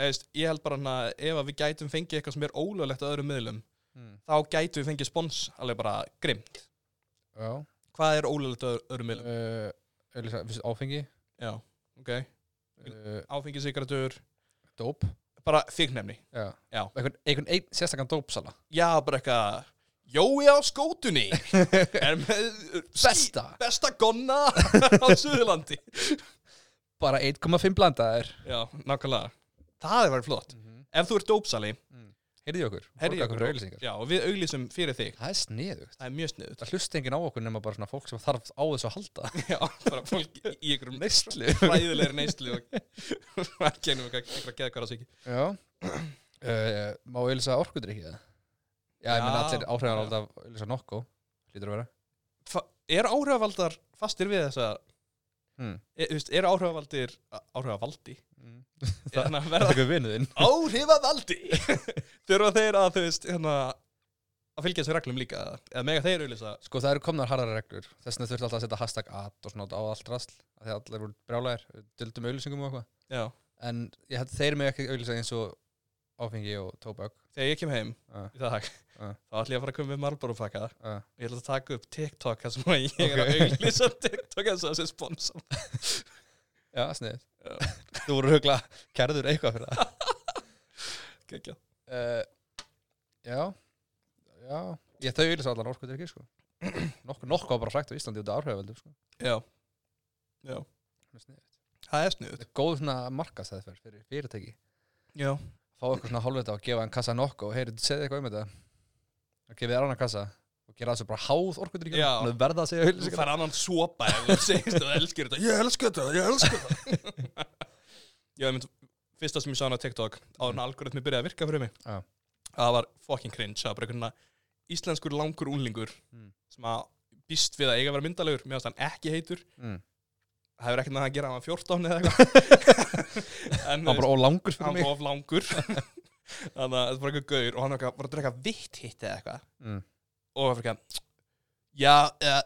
veist, ég held bara hann að ef að við gætum fengið eitthvað sem er ólöglegt á öðrum miðlum mm. þá gætum við fengið spons alveg bara grimt Já hvað er ólöglegt á öðrum miðlum uh, auðlýsa, fyrst áfengi já, ok, uh, áfengið sigarettur Dóp bara fíknefni Já, Já. Einhvern, einhvern ein, sérstakann dópsala já, bara eitthvað Jói á (laughs) skótunni er með skí- Besta besta gonna (laughs) á Suðurlandi Bara 1,5 blandaðir Já, nákvæmlega Það er verið flott mm -hmm. Ef þú ert dópsali, Heyrði okkur heyrðu Borgaðu ég fyrir auglýsingar. Já, og við auglýsum fyrir þig Það er sniðugt Það er mjög sniðut Það hlusta enginn á okkur nema bara svona fólk sem þarf á þessu að halda Já, bara fólk í- í ykkurum (laughs) Neistlu fræðilegri neyslu og það kennum við ykkur (laughs) að um geða hvað það sé Já uh, Má auðlýsa orkudrykki það? Já, ég menn Já. allir áhrifan alltaf auðlýsa nokko Lítur að vera ekki Er áhrifavaldar fastir við þessa hmm. e, þú veist, Er áhrifavaldir Áhrifavaldi? Mm. Er hann að Það er (laughs) verða eitthvað vinnuðinn áhrifavaldi? (laughs) Þurfa þeir að, þú veist, hérna að fylgja þessu reglum líka eða- eða mega þeir auðlýsa Sko það eru komnar harðar reglur Þess vegna þurfti alltaf að setja hashtag at og svona á allt rast Þegar allir voru brjálæðir Dildum auðlýsingum og eitthvað Já, En ég held þeir mig ekki auðlýsa eins og áfengi og tóbak þegar ég kem heim uh, í dag Ah. þá ætlum ég að fara að koma með Marlboro pakka uh. og ég ætla að taka upp TikTok þar sem að ég er að Ok. auglýsa (laughs) TikTok þess að þessi sponsor Já, sniðið (laughs) Þú voru hugla kærður eitthvað fyrir það Geggjað. uh, Já Já Ég þau auðlýsa allan orkuð ekki sko (clears throat) Nokkuð nokku var bara frækt á Íslandi út af áhrifavöldu sko. Já, Það er sniðugt. það er Þetta snuð er góð svona markastæðferð fyrir fyrirtæki Já, Fá eitthvað svona hálfvita og gefa hann kassa nokku og heyri, segðu eitthvað um þetta og gefið þér annan kassa og gera þessu bara háð Já. orkuðryggjum og verða að segja þú auðlýsingar fær annan sopa ef þú segist að þú elskir þetta Ég elskir þetta, ég elskir þetta (laughs) Já, ég mynd, fyrsta sem ég sá hann á TikTok á hann algoritmi byrjaði að virka fyrir mig Já. það var fucking cringe það var bara einhverjum íslenskur langur úlingur Mm. sem að býst við að eiga að vera myndalegur mér finnst hann ekki heitur mm. það hefur ekkert með það að gera hann var 14 eða eitthvað (laughs) En, þú Hann bara ólangur fyrir hann mig var of langur (laughs) þannig að þetta er bara eitthvað gaur og hann var eitthvað- var að drekka vitt hitt eða eitthvað mm. og hann var eitthvað já, uh,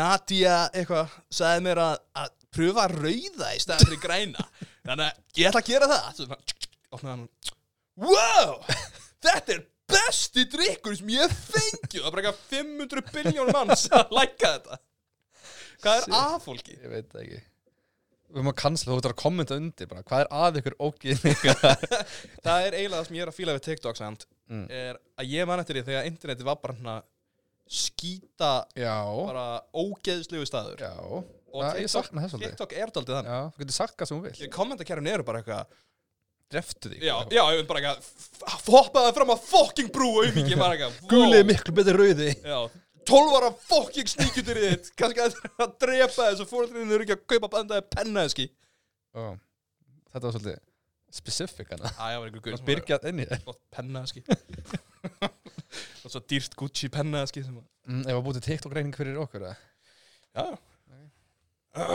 Nadia eitthvað sagði mér að, að pröfa rauða í stæðan fyrir græna þannig að ég ætla að gera það Svo svona, tsk, tsk, opnaði hann og wow, þetta er besti drikkur sem ég hef fengið það er bara eitthvað 500 biljón manns að læka þetta hvað Shit. er að fólki? Ég veit það ekki Við erum að kansla, þú ert að kommenta undir bara Hvað er að ykkur ógið (laughs) ykkar? það er eiginlega það sem ég er að fíla við TikTok samt mm. er að ég man eftir því þegar internetið var bara hérna skýta Já, bara ógeðslegu staður já og Það- Ég TikTok, sakna þess aldrei TikTok er daldið þannig Já, þú getur sagt hvað sem hún vil kommentarkerfin eru bara eitthvað Dreftu því já, já, ég veit bara eitthvað hoppaði fram að fokking brú og um ekki bara eitthvað Gulið er wow. miklu betur rauði já, 12 ára fokking sníkjutur í þitt kannski að þetta er að drepa þessu fórhaldinu eru ekki að kaupa bandaði penna þesski Ó, Þetta var svolítið specific hana að já, var einhver guð Það sem var- byrgjað inn í þér flott penna þesski og svo dýrt Gucci penna þesski sem var mm, Ef að búti TikTok reyning fyrir okkur eða? já, já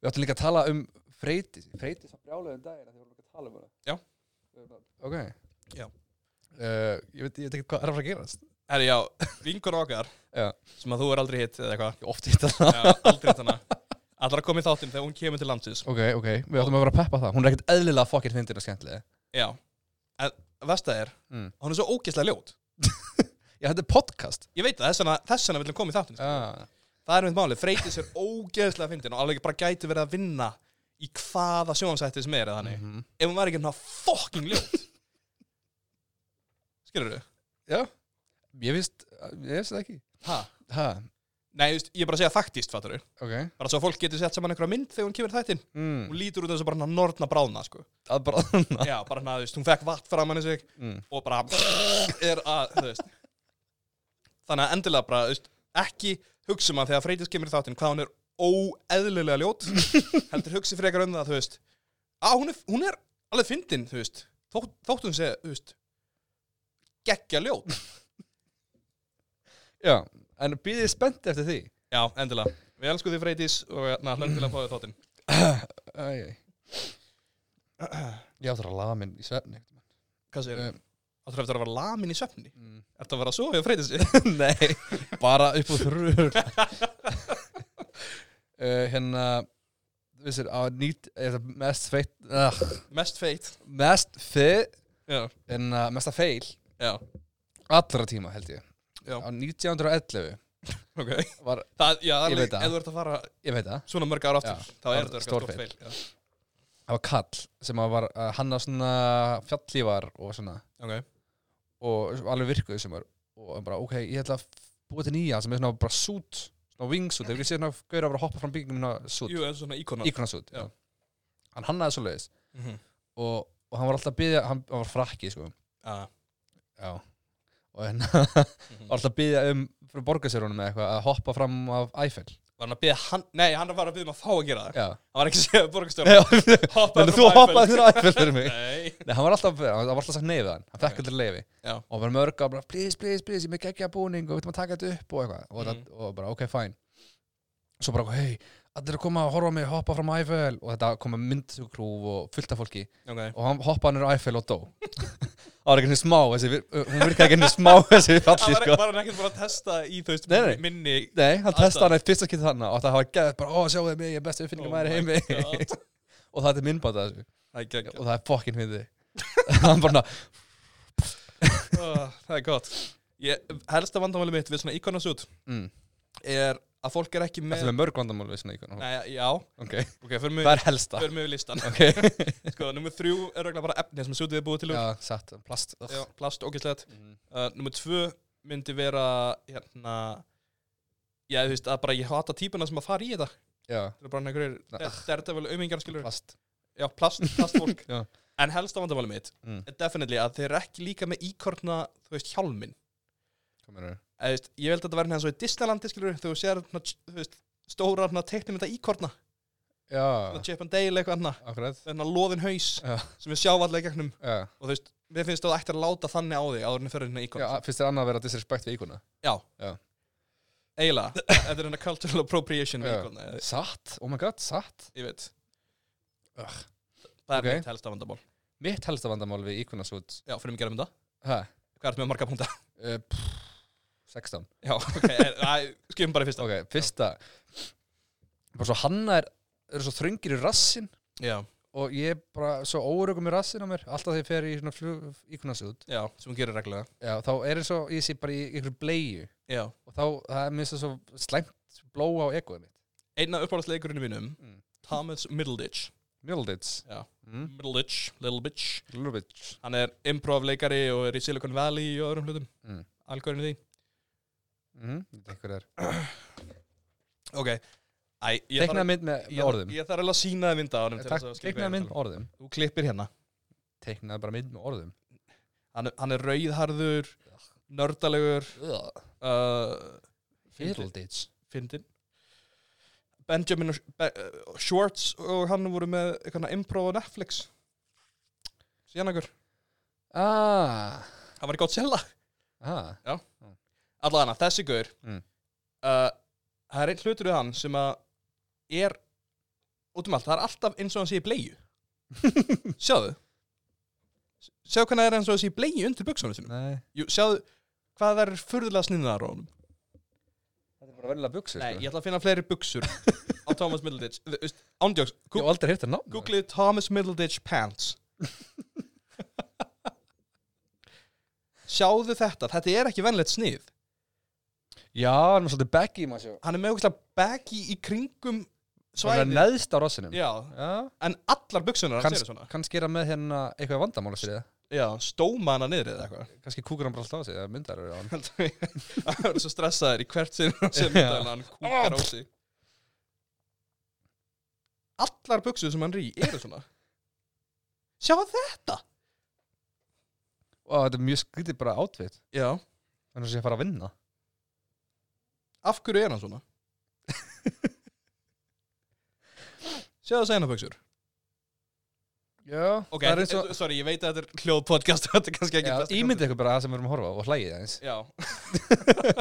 Við áttum líka að tala um Freydís Freydís var brjálega um daginn af því við vorum ekki að tala um hana Já. Við erum að- Ok Já. uh, ég, veit, ég veit ekki hvað er að fara að gerast Herri, já, vingur okkar Já. sem að þú er aldrei hitt eða (laughs) eitthvað Ég ofti hitt hana Já, aldrei hitt hana Allra komið þáttinn þegar hún kemur til landsins Ok, ok, við áttum að vera að peppa það Hún er ekkert eðlilega fokkir fyndin og skemmtilega Já En Vesta er, Mm. hún er svo ógeðslega ljót Já, þetta er podcast Ég veit það, þess vegna, þess vegna vil hún koma í þáttinn sko. ah. Það er mitt málið, Freydís er ógeðslega fyndin og alveg bara gæti verið að vinna í hvaða sjónsætti sem er eða þannig -hmm. ef hún væri ekki hérna fucking ljót (laughs) Skilur du? Já, ég vist, ég vist það ekki Ha? Ha, Nei, þú veist, ég er bara að segja faktíst, fattur du ok Bara svo að fólk getur sett saman einhverja mynd þegar hún kemur í þættinn mm. Hún lítur út eins og bara hann norna bráðna, (laughs) sko Að bara þarna Já, bara hann að, þú veist, hún fekk vatn fram hann sig mm. og bara er að, þú veist Þannig að endilega bara, þú veist, ekki hugsa maður þegar Freydís kemur í þáttinn hvað hún er óeðlilega ljót heldur hugsi frekar um það, þú veist að hún er, hún er alveg fyndin, þú veist Þótt, þótt hún segja, þú veist geggja ljót Já, en býðið spennt eftir því Já, endilega, við elskum því Freydís og na, hlönd til að fá því þáttinn Æj, æj Ég áttur að laga minn í svefni Hvað segir Um, þau? Áttur eftir að vera lamin í svefni? Mm. Ertu að vera að sofa hjá Freydísi? (laughs) Nei, bara upp úr (laughs) þrur uh, Hérna Vissir, á nýt eða Mest feitt uh, Mest feitt Mest feitt Já, En uh, mesta feil já, Allra tíma held ég Já. Á 1911 ok var, Það, já, Ég alveg, veit það. ef þú ert að fara Ég veit það svona mörg ára aftur Já, þá er var þetta stór stort feil já. Það var kall sem að var að hanna svona fjallífar og svona Ok, og alveg virkuð sem var og hann bara ok, ég ætla að búa til nýja sem er svona bara sút, svona wingsuit ef ég sé svona gauður að vera að hoppa fram byggingum svona sút, jú, eða svona íkona íkonasút Já. hann hannaði svo leiðis mm -hmm. og, og hann var alltaf að byggja, hann, hann var frakki sko. ah. já og hann (laughs) var alltaf að byggja um frá borgarsérunum eða eitthvað að hoppa fram af Eiffel Var hann að byggja hann, nei, hann var að byggja um að fá að gera það já, Hann var ekki að segja borgarstjóra (laughs) þannig Hoppaði að þú hoppaði þér á Eiffel fyrir mig Nei, Nei, hann var alltaf, hann var alltaf sagt neyfið hann, hann fekk Ok. aldrei leiði Já. og hann var mörg að bara, please, please, please, ég með geggja búning og við veitum að taka þetta upp og eitthvað og, Mhm. það, og bara, ok, fine svo bara, hei, allir eru að koma að horfa á mig hoppa fram á Eiffel og þetta kom með myndkrúf og fullt af fólki ok og hann hoppaði hann á Eiffel og dó það var ekki henni smá, þessi, vir- hún virkaði ekki henni smá þessi Hann falli, var, sko var hann ekkert bara að testa í, þú veist, Nei, nei. minni Nei, hann Aðstæður. testaði hann eitt fyrsta skipti þarna og það var gæðið bara, ó, sjáu þið mig, ég er bestu uppfinningum maður í Oh my heimi God. (laughs) og það er minnbátt þessu Það er geggjað. og það er fokkin fyndið (laughs) hann bara, Ah, Það er gott Ég, helsta vandamáli mitt við svona íkonasút mm, er að fólk er ekki þetta með er mörg vandamál við svona íkon Nei, já, ok, ok, förum við það er helsta förum við yfir listan ok, Sko, nummið þrjú er regla bara efni sem sútið er búið til úr já, satt, plast ugh. Já, plast, ógæslegt Mhm. uh, Nummið tvö myndi vera hérna Já, þú veist, að bara ég hata típuna sem að fara í þetta já, Það er bara einhverjir Nei, der- daredevil aumingar skilur plast Já, plast, plastfólk (laughs) Já. En helsta vandamáli mitt Mm. er definitely að þeir eru ekki líka með íkorna þú veist, hjálminn Hvað meinarðu? Eða, þú veist, Ég held að þetta verði eins og í Disneylandi skilur þegar þú sér, svona, þú veist, stóra teiknum þetta íkorna, já, Chip and Dale eitthvað annað akkurat þennan loðin haus Ah. Já. sem við sjá allega í gegnum já, og þú veist, mér finnst þú ættir að láta þannig á þig áður en fyrir hérna íkon já, finnst þér annað að vera disrespekt við íkona eiginlega, þetta er hérna cultural appropriation við Já. íkon, satt, oh my god, satt ég veit Ugh. það er Ok. mitt helsta vandamál mitt helsta vandamál við íkona sút já, fyrir mig gerum þetta, hæ, hvað er þetta með marga púnta? uh, pff, 16 (laughs) já, ok, eh, æ, skifum bara í fyrsta ok, fyrsta bara svo hanna er, eru svo þröngir í rassin já, og ég er bara svo órugum í rassin á mér alltaf þegar ég fer í svona flug, íkona sút já, sem hún gerir reglulega já, þá er eins og ég sé bara í ykkur bleju já, og þá, það er minnst það svo slæmt blóa á egoið mitt einna uppáðsleikurinn mínum Mm. Thomas Middleditch Middleditch Já. mm. Middleditch, Little Bitch Middleditch hann er improv-leikari og er í Silicon Valley og öðrum hlutum, Mm. algörinu því mm. Þetta er ok, æ, ég þarf- Teiknaði mynd með, með Ég- orðum Ég þarf alveg að sína það mynd á honum til þess að skilja hvað ég er Teiknaði að mynd tala með orðum um. Þú klippir hérna Teiknaði bara mynd með orðum Hann, er- hann er rauðharður, nördalegur uh, fyndin- Middleditch Fyndin Benjamin og- Be- uh, Schwartz og hann voru með eitthvað improv á Netflix Síðan einhver Ah, Hann var í Godzilla ah. Alla hana, þessi gaur Mm. uh, Það er einn hlutur við hann sem að er út um allt, það er alltaf eins og hann sé í bleiu sjáðu sjáðu hvernig það er eins og hann sé í bleiu undir buksunum sinum Nei. Jú, sjáðu hvað það er furðulega sniðnaðar á honum Þetta er bara verðilega buksur. Nei, ég ætla að finna fleiri buksur á Thomas Middleditch Þú veist, Ándjóks, Ég hef aldrei hirt að náma. googlið Thomas Middleditch pants Sjáðu þetta, þetta er ekki venlegt snið Já, hann var svolítið baggy, maður sjá. Hann er með okkur baggy í kringum Svæði. svæði neðst á rossinum. Já, Já. en allar buksunar hans Kanns, eru svona kannski er hann með hérna eitthvað vandamála fyrir það. Já, stóma hana niður eða eitthvað (laughs) Kannski kúkur hann bara alltaf á sig, það myndar eru á hann. Heldur við. Það verður svo stressaður í hvert sinn og sem Já. myndaðan hann kúkar á sig Allar buksur sem hann er í eru svona Sjá þetta Ó, þetta er mjög skrítið bara átveit. Já, Þannig að sé að fara að vinna. af hverju er hann (laughs) svona? Sjáðu það segna buksur Já. Ok, e- eh, það er eins og... sorry, ég veit að þetta er hljóðpodcast og (laughs) þetta er kannski ekki Já, besta ímyndið ykkur bara það sem við erum að horfa á og hlægið aðeins. content. Já,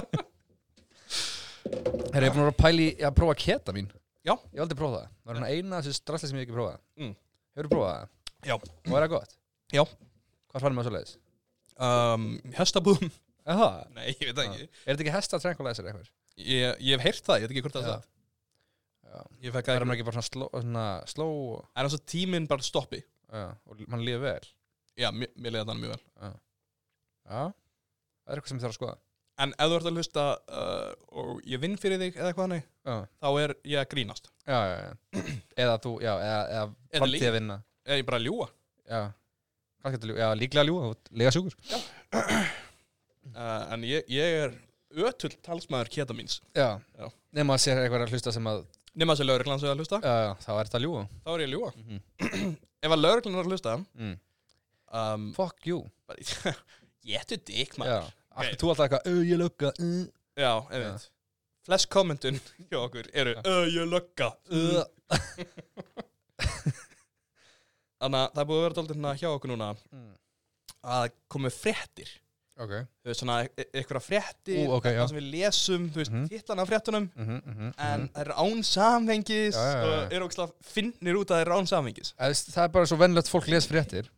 Herra, ég er búin að vera að pæli að prófa keta mín. Já. Ég hef aldrei prófað það. Það er hann eina þessi strassli sem ég hef ekki prófað. Mm. Hefur prófað það? Já. Og er það gott? Já. Hvað fann maður svo leiðis? um, Hestabúðum Aha. (laughs) Nei, ég veit það ekki Er þetta ekki hesta tranquilizer eitthvað? ég, ég hef heyrt það, ég veit ekki hvort það er Já. satt Já. Ég fekk Það að er það maður ekki bara svona sló, svona sló og, er eins og tíminn bara stoppi já, og mann líður vel. Já, mér, mér leiði það mjög vel Já. Það er eitthvað sem ég þarf að skoða. En ef þú ert að hlusta uh, og ég vinn fyrir þig eða eitthvað hannig Já. þá er ég að grínast Já, já, já. (clears throat) eða þú, já, eða, Eða eða lygi. framtíð að vinna. Eða ég bara að ljúga Já. Kannski þetta ljú, já, líklega ljú, líka sjúkur. uh, En ég, ég er ötull talsmaður keta míns Já. Já. Nema að sé eitthvað að hlusta sem að, Nefna þessi lögreglan sem er að hlusta, já, já, þá er þetta ljú. þá er ég að ljúga Mm -hmm. Ef að lögreglan er að hlusta um, Mm. Fuck you. bara- Jétu dikk Já. maður Akkur, þú alltaf eitthvað, "Ö, ég lögga, uh, Já, ef Já. veit Flest kommentun hjá okkur eru Já. Ö, ég lögga uh. Þannig að það er búið að vera dálítið hérna hjá okkur núna Mm. að komið fréttir Ok. Þú veist svona, e- einhverja fréttir Ú, ok, já. það sem við lesum, þú veist, mm Mhm. titlan af fréttunum Mm en það eru án samhengis Já, já, já, já. og eru ógslag finnir út að það eru án samhengis Það er bara svo vennlegt fólk les fréttir.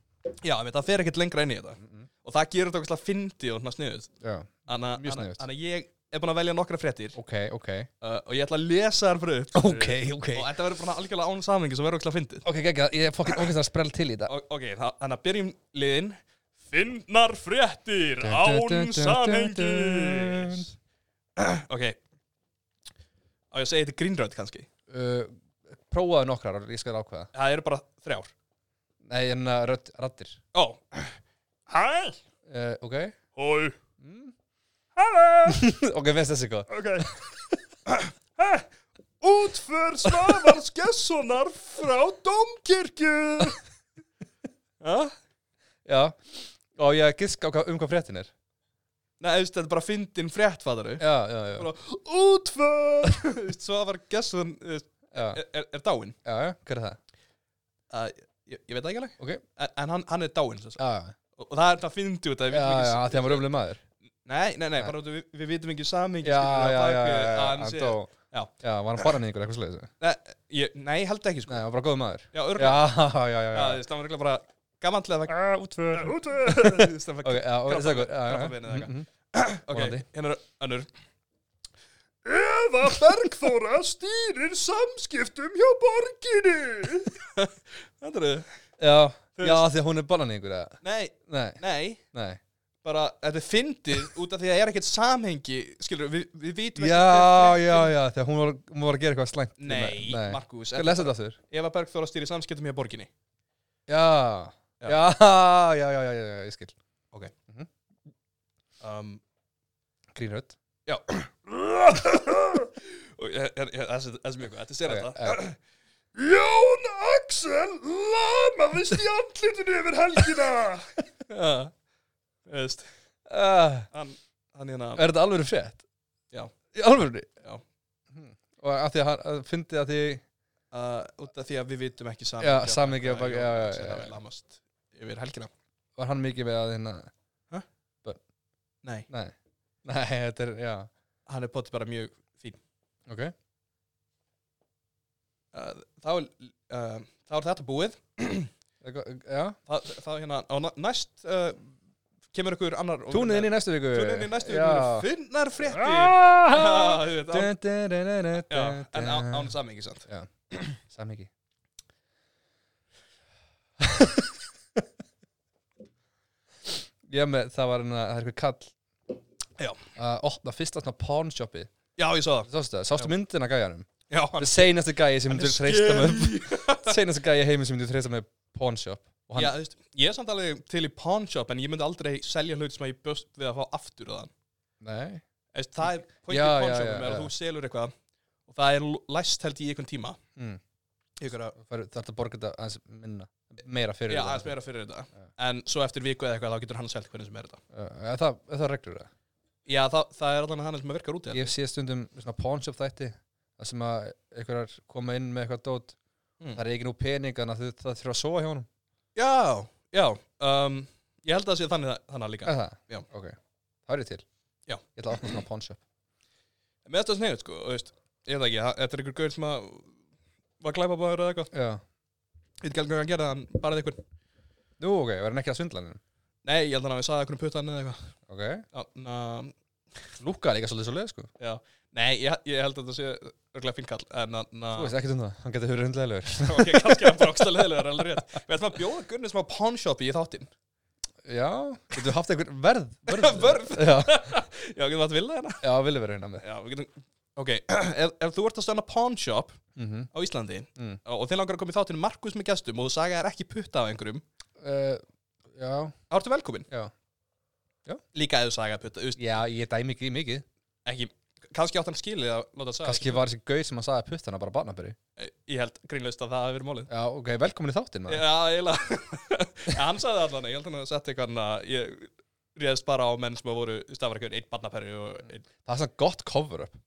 Já, ég veit, það fer ekkert lengra inn í þetta Mm og það gerur þetta ógslag fyndi og svona sniðut Já. Mjög sniðugt. Þannig að ég er búin að velja nokkra fréttir Ok, ok. uh, og ég ætla að lesa þær bara upp ok. og þetta verður bara algjörlega án samhengis og verður ógslag fyndið Ok, gegga, ég er fokkin ógæst að sprell til í þetta. O- Ok, það- þannig að byrjum liðin Finnar fréttir án samhengis (clears throat) Ok Á ég að segja þetta grínröð kannski Uh, prófaðu nokkrar og ég skal ákveða. Það eru bara þrjár Nei, en uh, rödd, rattir. Ó Hæ Uh, ok. (laughs) Hói Mm. Hæ ok, finnst þessi góð. Ok Hæ Útför Svavars Gessonar frá Dómkirkju Hæ? Já. Og ég gisk á hvað, um hvað fréttin er. Nei, þú veist, þetta er bara fyndin frétt, fattaru Já, já, já. Bara, Útför Þú veist, Svavar Gesson þú veist, Já, er, er, er dáinn já, já. Hver er það? uh, ég, ég veit það ekki alveg Ok. en, en hann, hann er dáinn sem sagt. Já, já. og, og það er það fyndi út að Já, við vitum já, ekki af því hann var umlega maður. nei, nei, nei, Nei. bara út að við, við vitum ekki samhengi Já, já, já, já, já, hann hann sé dó. Já. Já, var hann bara nýðingur eitthvað sliðis? nei, ég, nei, held ekki Nei, sko hann var bara góð maður. já, Já, örgulega, já, já, já. já, þú veist, það var örgulega bara gamanlega það já. Útför. (laughs) Ok, útför já, og Krabba- það er góð. Já, já, já. krabbameinið eða eitthvað. Mhm. ok, vonandi. hérna er önnur Eva Bergþóra stýrir samskiptum hjá borginni (laughs) Þetta eru Já, Þú já, af því að hún er bananingur, eða? Nei, Nei, nei nei. bara, þetta er fyndið út af því að það er ekkert samhengi, skilur, við, við vitum ekki Já, já, já, þegar hún var, hún var að gera eitthvað slæmt. Nei, nei. Markus, Skal lesa þetta aftur? Eva Bergþóra stýri samskiptum hjá borginni Já, Já. já, (laughs) já, já, já, já, já, ég skil. um, Grínrödd. (laughs) og ég- ég- ég- þessi þessi er mjög góð, þetta sér Ok, þetta (clears throat) Jón Axel lamaðist í andlitinu yfir (laughs) helgina Já, veist Uh, hann, hann hérna er þetta alveg frétt? Já. Í alveg? Já. Og að því að hann að fyndi að því, uh, út af því að við vitum ekki samhengi Já, á bak- samhengi á að bak- Jón já, já, Axel já, hafi já. lamast yfir helgina var hann mikið með að hérna, Nei, nei, nei, þetta er, já, hann er potið bara mjög ok. uh, þá, er, uh, þá er þetta búið Eitthvað- Já, þá, þá hérna, á na- næst uh, kemur ykkur annar túnið inn í næstu viku Túnið inn í næstu viku Já. eru Finnar fréttir Ah! Já, (laughs) þú veit, án- Dun, dun, dun, dun, dun, já, dun, En á- dun. án samhengi sant Samhengi Já, með, það var hérna, það er eitthvað kall Já. að opna fyrsta svona pawnshoppi Já, ég svo það Sástu það, sástu myndina af gæjanum Já, Það hann seinasti gæi sem hann er myndir treysta með skeri. Seinasti gæi í heimi sem myndir treysta með pawnshop Og (laughs) hann, Já, þú veist, ég er samt alveg til í pawn shop en ég myndi aldrei selja hlut sem að ég bjóst við að fá aftur af þann. nei Eðst, það er pointið í Já, já, pawn já, shopum er já. að þú selur eitthvað og það er l- læst held í einhvern tíma mm. ykkur að, Það er að borga þetta aðeins minna Meira fyrir já, þetta. aðeins meira fyrir þetta Já. en svo eftir viku eða eitthvað þá getur hann selt hvernig sem er þetta Já, Eh, er það, er það reglur það? Já, það, það er allan hann sem virkar hérna. út í þetta Ég sé stundum svona pawnshop þætti Það sem að einhverjar koma inn með eitthvað dót Mm. Það er ekki nú pening Þannig að þau- það þurfa að sofa hjá honum Já, já um, Ég held að það sé þannig, þannig líka Er það? Já. Ok, það er ég til Já. Ég ætla að opna svona pawnshop Með þetta er sniðut sko, þú veist, ég veit það ekki það- Þetta er ykkur gaur sem að var glæpabáður eða eitthvað Já Ég veit ekki alveg hvað hann gerði, hann barði ykkur Nú, ok, verður hann ekki að svindla hann Nei, ég held að hann hafi sagði ykkur um putan eða eitthvað Ok Já, na, Lúka er líka svolítið svolítið sko Nei, ég, ég held að þetta sé örglega fín kall en na, Þú veist ekkert um það Hann getur verið hundlegilegur (laughs) ok, kannski hann bróksta leðilegur alveg rétt. Við ætlum að bjóða Gunni sem á pawnshop í (laughs) þáttinn. Já Getur haft einhver (laughs) verð Vörð. Já, Já, getum við að vilja hérna? já vilja verið hérna með Já, við getum... Ok, (clears throat) ef, ef þú ert að stanna pawnshop mm -hmm. á Íslandi Mm. og þið langar að koma í þáttinn Markus með gestum og þú sagði að það er ekki putta af einhverjum, uh, Já þá ertu velkomin. Já. Já. Líka ef þú sagði að putta, þú veist, Já, ég dæmi ekki í mikið ekki... Kannski átt hann skilið að láta það sagði. Kanski var þessi gauð sem að sagði puttana bara barnaberi Ég held grínlaust að það hafi verið málið. Já, ok, velkomin í þáttinn maður Já, eiginlega (laughs) En hann sagði allan, ég held hann að setja eitthvað hann að ég réðst bara á menn sem voru stafarkjörn, einn barnaperri og einn Það er svona gott cover-up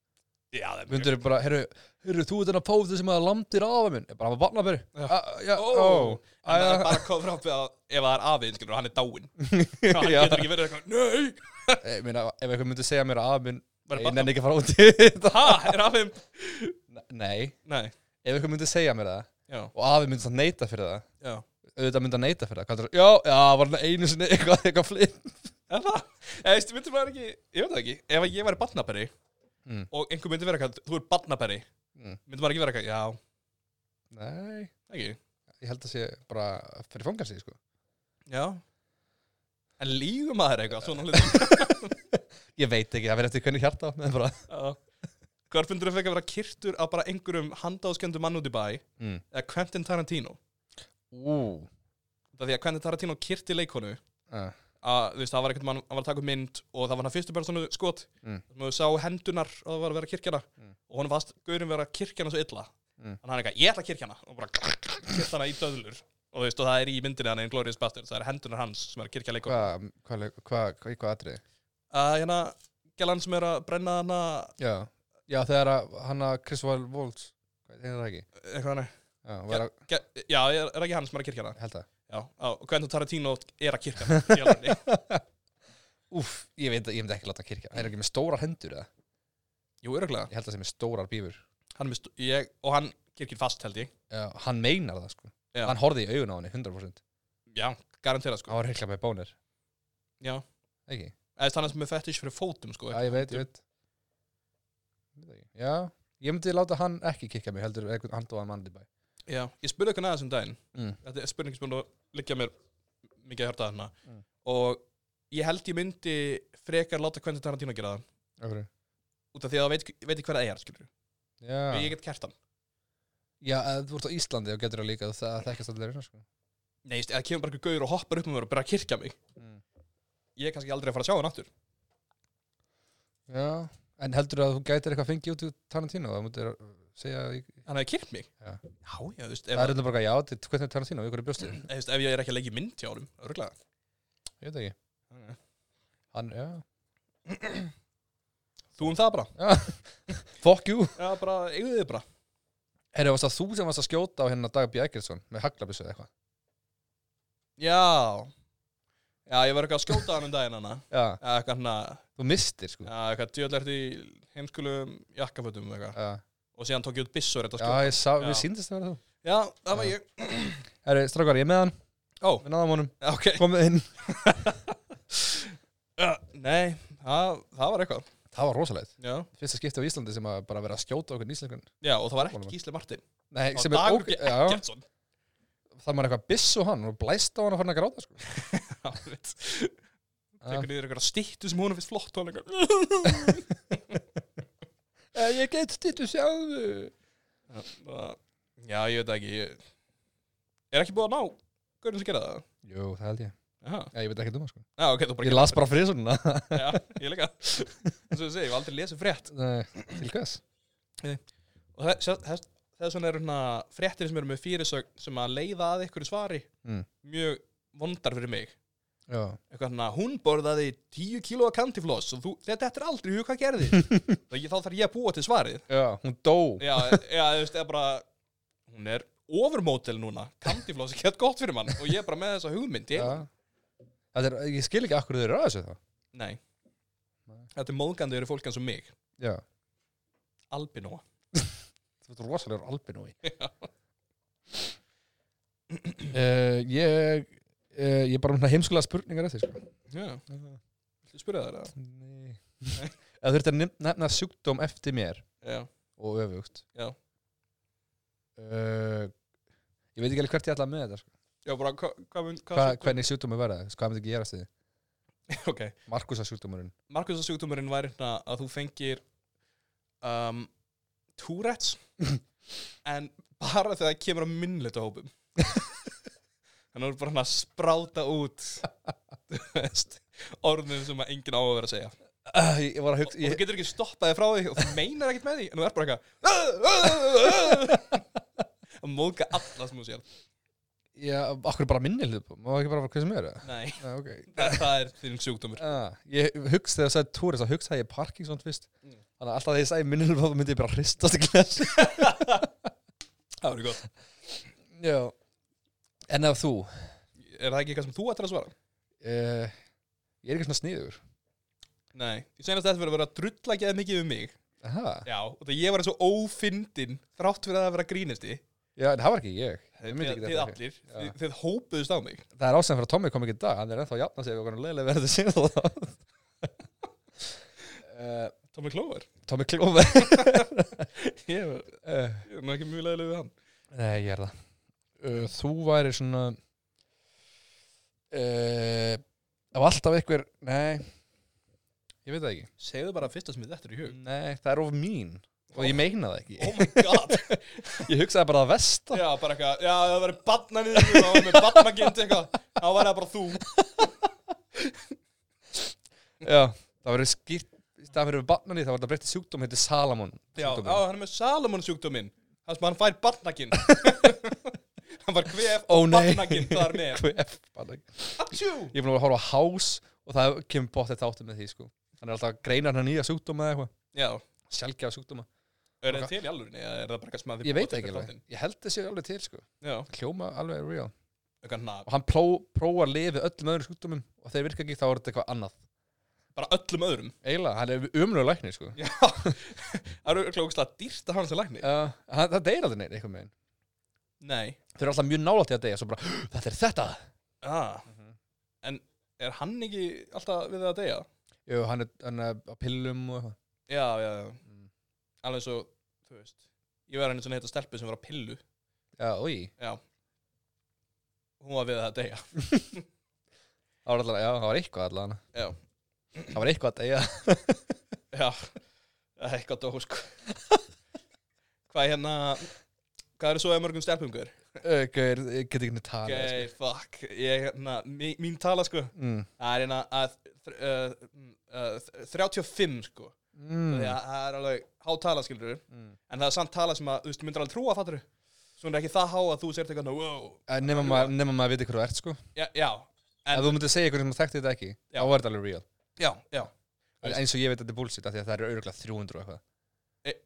Já, það er mjög Myndur bara, heyrðu, heyrðu, þú ert þennan póðu sem að landir afa minn Ég Bara hann var barnaberi Já. Ah, Já, Ó, ó En það Æ, er bara að kofra upp að ef það er afinn, skilur, hann er dáinn og hann (laughs) Já. getur ekki verið eitthvað, nei Ég meina, ef einhver myndi segja mér að afi minn Bara Ég barna- nenni ekki að fara út í þetta Ha, er afinn? Nei, Nei, ef einhver myndi segja mér það já, Og afi myndi það neita fyrir það já Auðvitað myndi að neita fyrir það Hvað heldur- Já, já, var hann einu sinni eitthvað, eitthvað flinn En það, eða veist, myndir maður ekki, ég veit það ekki Ef ég væri barnaperri Mm. og einhver myndir vera eitthvað, þú er barnaperri Mm. myndir maður ekki vera eitthvað, já, Nei, ekki, ég held að sé bara fyrir fangarsi, sko já En lígum maður eitthvað, svona hluti Ég veit ekki, það verður eftir hvernig hjarta á, en bara Já. Hvar fundur þau fekk að vera kyrtur af bara einhverjum handáskendum mann út í bæ Mm. eða Quentin Tarantino Ú, það því að Quentin Tarantino kyrti leikonu uh, að þú veist það var einhvern mann, hann var að taka upp mynd og það var hann fyrstu personu skot Mm. sem þau sá hendunar og það var að vera kirkjana Mm. og honum fast gaurin vera kirkjana svo illa Mm. þannig hann er eitthvað, ég ætla kirkjana og bara kyrt hana í döðlur og þú veist og það er í myndinni hann einn Glorious Bastard það er hendunar hans sem er að kirkja leikonu hvað, hvað, hvað, hvað, hvað atriði? að hérna, gælan sem er að brenna hana Já, já þegar að hann að Christopher Waltz, hvað er það ekki? eitthvað hann er, Já, var að, Ge- já, er er ekki hann sem er að kirkja hana held það. Já, á, og Quentin Tarantino er að kirkja hann í alvörunni. (laughs) Úff, ég veit að ég myndi ekki láta hann kirkja. Það er ekki með stórar hendur eða? Jú, öruglega Ég held það sem er stórar bífur. hann er með stu- ég, Og hann kirkir fast held ég Já, hann meinar það sko. Já. Hann horfði í augun á henni 100%. Já, garantera sko Hann var heikla með bónir, Já, ekki? eða þess að hann er með fetish fyrir fótum sko Já, ég veit, ég veit. Ég veit ekki. Já, ég myndi láta hann ekki kirkja mig, heldur einhvern handóðan mann í bæ. Já, ég spurði eitthvað næðis um daginn Mm. Þetta er spurning sem búin að liggja mér mikið að hjarta þarna Mm. Og ég held ég myndi frekar láta Quentin Tarantino gera það Af hverju? Út af því að það veit, veit ég hver það er, skilur Já, Ég get kert hann já ef þú ert á Íslandi og getur það líka, það þekkast allir hérna sko. Nei, ég veist, eða kemur bara einhver gaur og hoppar upp um mér og byrjar að kirkja mig Mm. Ég er kannski aldrei að fara að sjá hann aftur Já, en heldur að þú gætir eitthvað fengið út úr Tarantino, það mútið að segja í... Hann hefði kyrkt mig Já. já, já, þú veist, ef, Það er eitthvað bara, já, þetta hvernig er Tarantino, ykkur er bjóstið (clears throat) ef, þú veist, ef ég er ekki að leggja mynd hjá hann Örglega Ég veit ekki, hann, já Þú um það bara (laughs) Fuck you Já, bara, eigðu þið bara Herru, varst það þú sem varst að skjóta á hérna Dag B. Eggertsson með haglabissu eða eitthvað Já Já, ég var eitthvað að skjóta hann um daginn hana Já, Eða eitthvað hann að þú mistir, sko Já, Eitthvað djöðlert í heimskulum jakkafötum og eitthvað já. og síðan tók ég út byssur þetta Já, skjóta. ég sá, Já. við síndist það vera þú Já, það var Já. ég. Herri, strákar, ég er með hann, Ó, við náðum honum ok. Komið inn Uh, nei, það, það var eitthvað. Það var rosalegt Já. Fyrsta skipti á Íslandi sem að bara vera að skjóta okkur nýslengun Já, og það var Honum. ekki Gísli Martin. Nei, Það sem var er Dagur ok G. já, Eggertsson. Það er maður eitthvað biss og hann og blæst á hann og fann að gráta sko. Já, veit. Já. Tekur niður eitthvað stýttu sem hún finnst flott og hann eitthvað. Eh, Ég get stýttu sjáðu Já, það- Já, ég veit það ekki. Ég... Er ekki búið að ná gaurinn sem gera það? Jú, það held ég Já, Já, ég veit ekki um það sko Já, ok, þú bara Ég las bara (laughs) frisununa Já, ég líka. Þess að ég segi, ég hef aldrei lesið frétt. Nei, Eh, Til hvers? Og þess, þess, þess vegna eru svona fréttir sem eru með fyrirsögn sem að leiða að ykkur svari Mm. mjög vondar fyrir mig. Já eitthvað svona, hún borðaði 10 kílóa kantifloss og þú, þetta þetta er aldrei hug hvað (laughs) gerði þá, ég, þá þarf ég að búa til svarið Já, hún dó já, já, þú veist, eða bara hún er overmótel núna kantifloss er gett gott fyrir mann og ég er bara með þessa hugmynd ég, Já. Þetta er, ég skil ekki akkur þau eru að þessu þá nei, Nei. þetta er móðgandi eru fólk eins og mig Já albinóa Þú ert rosalegur albinói uh, Ég uh, Ég er bara um svona heimskulega spurningar eftir sko. já, þú spurði það Nei Ef þú ert að nefn- nefna sjúkdóm eftir mér já, og öfugt Já. Eh, Ég veit ekki alveg hvert ég ætla með þetta sko. já bara, hva, hva, hva, Hva, Hvernig sjúkdómi verða þess, hvað myndi ekki gerast þið ok, Markusa sjúkdómurinn Markusarsjúkdómurinn væri hérna að þú fengir um, Tourette's (laughs) en bara þegar það kemur á minnleita (laughs) hópum þannig að þú er bara hann að spráta út þú veist, orðum sem að enginn á að vera að segja uh, Ég var að hugsa og þú ég, getur ekki stoppaði frá því og þú meinar ekkert með því en þú er bara eitthvað að móðga alla sem þú sér ég, Akkur bara minni hlut Má ekki bara hvað sem er nei, uh, okay. það, það er þinn sjúkdómur uh, Ég hugsa þegar það sagði Túris að hugsa ég Parkinson fyrst Mm. Þannig að alltaf þegar ég sagði minni hlut þá myndi ég bara hristast í glæs það verður gott Já En ef þú er það ekki eitthvað sem þú ættir að svara? uh, Ég er ekki svona sniður nei, ég senast þetta verður að vera að drulla ekki mikið um mig Aha. Já, og það ég var eins og ófyndin þrátt fyrir að það vera grínisti Já, en það var ekki ég Ég þið, myndi ekki þið þetta. allir, Já. þið, þið hópuðust á mig Það er ástæðan fyrir að Tommy kom ekki í dag, hann er ennþá að jafna sig og hann er leiðilega verið að segja það. (laughs) uh, Tommy Clover Tommy Klófer. (laughs) ég var, Uh, ég var nú ekki mjög leiðileg við hann nei, ég er það. Uh, þú væri svona... Uh, af alltaf einhver... Nei, ég veit það ekki. segðu bara fyrsta sem þið þetta er í hug Nei, það er of mín. Og ég meina það ekki. oh my (laughs) god, (laughs) Ég hugsaði bara að vesta. já bara eitthvað já það verið batna við þig, það var með batnagind eitthvað þá var það bara þú Já, það verið skýrt. Í staðan fyrir barnan í það var þetta breytti sjúkdóm, heiti Salamon. já, sjúkdómurinn. á, hann er með Salomon sjúkdóminn það sem hann fær (laughs) batnagind hann var kvef Ó, og nei. batnagind þar (laughs) með Kvef, barnaginn. Atjú! ég er búin að vera að horfa á House og það kemur bótt þetta áttum með því sko hann er alltaf að greina hann nýja sjúkdóma eða eitthvað já, sjálfgjafa sjúkdóma er það til í alvörinni eða er það bara eitthvað sem að þið ég búið veit til ekki fyrir alveg þáttinn? ég held þessi alveg til sko já, hljóma alveg real eitthvað na, og hann pró, prófa að lifi öllum öðrum sjúkdómum og þegar virka ekki þá er þetta eitthvað annað bara öllum öðrum eiginlega hann er umlögu læknir sko Já, (laughs) það eru örugglega ógeðslega dýrt að hafa hans að lækni. uh, hann, það deyr aldrei neitt eitthvað með hann Nei. þau eru alltaf mjög nálátt í að deyja svo bara þetta er þetta Ah. En er hann ekki alltaf við það að deyja? Jú, hann er, hann er á pillum og eitthvað Já, já, já. Mm. Alveg eins og, þú veist, ég var henni svona heita stelpu sem var á pillu. já, oi Hún var við það að deyja. það var alltaf já það var eitthvað allan Já. það var eitthvað að deyja Já, það er eitthvað dó, sko. (laughs) hvað hérna, hvað eru svo eða mörgum stelpungur? Ö, Eh, gaur, ég get ekki henni tala Gæ, fuck, ég, hérna, mín, mín tala, sko, mm. það er hérna að, þr- uh, uh, uh, 35, sko. Mm. Því að það er alveg hátala, skilur við. Mm. en það er samt tala sem að, þú veist, þú myndir alveg trúa fattur svo hún er ekki það há að þú sért eitthvað svona, wow, Eh, Nema maður, nema maður viti hver þú ert sko já, já, En- Ef þú myndir segja einhvern sem þekkti þetta ekki Já. Þá var þetta alveg real já, já, En eins og ég veit að þetta er bullshit af Því að það eru auðvitað 300 og eitthvað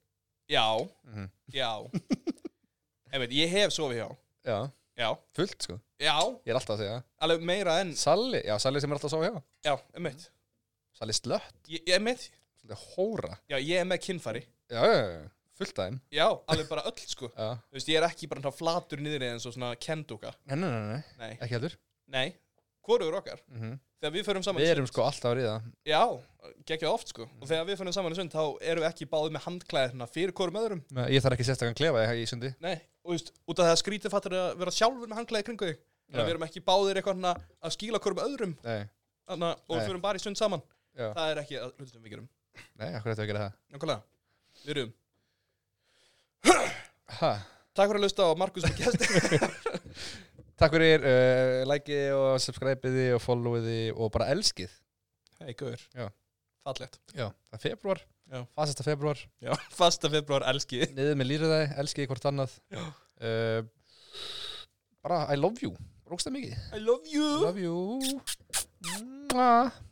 já, mm -hmm. já (laughs) en veit, ég hef sofið hjá Já, já, fullt sko já, Ég er alltaf að segja það. alveg meira Mm. en Salli, já Salli sem er alltaf að sá hjá já, emmitt, Salli slött, ég, emmitt Salli hóra já, ég er með kynfari Já, já, já fullt af þeim Já, alveg bara öll sko Já. Þú veist, ég er ekki bara svona flatur niður eins og svona kendúka Nei, nei, nei, nei, Nei, ekki heldur nei, hvorugur okkar mm Þegar við förum saman Við erum sko alltaf að ríða Já, gekkja oft sko Og þegar við förum saman í sund þá erum við ekki báðið með handklæðina fyrir hvorum öðrum Men Ég þarf ekki sérstakann klefa ég, í sundi Nei, og þú veist, út af það að skrítið fattur að vera sjálfur með handklæði kringu þig Þannig Já. að við erum ekki báðir eitthvað svona að skýla hvorum öðrum Nei, Þannig að, og Nei. við förum bara í sund saman Já. Það er ekki að hlutum sem við gerum nei, akkur eftir að gera það Nákvæmlega, við erum ha. Takk fyrir að hlusta á Markus með gesti Takk fyrir, uh, likeið og subscribeiði og followeiði og bara elskið Hei, guður Já. Fallegt Já, það er februar, Já. fasasta februar Já, fasta februar elski Niður með lýraðið, elskið hvort annað uh, Bara I love you, rókst það mikið I love you Love you Mwah.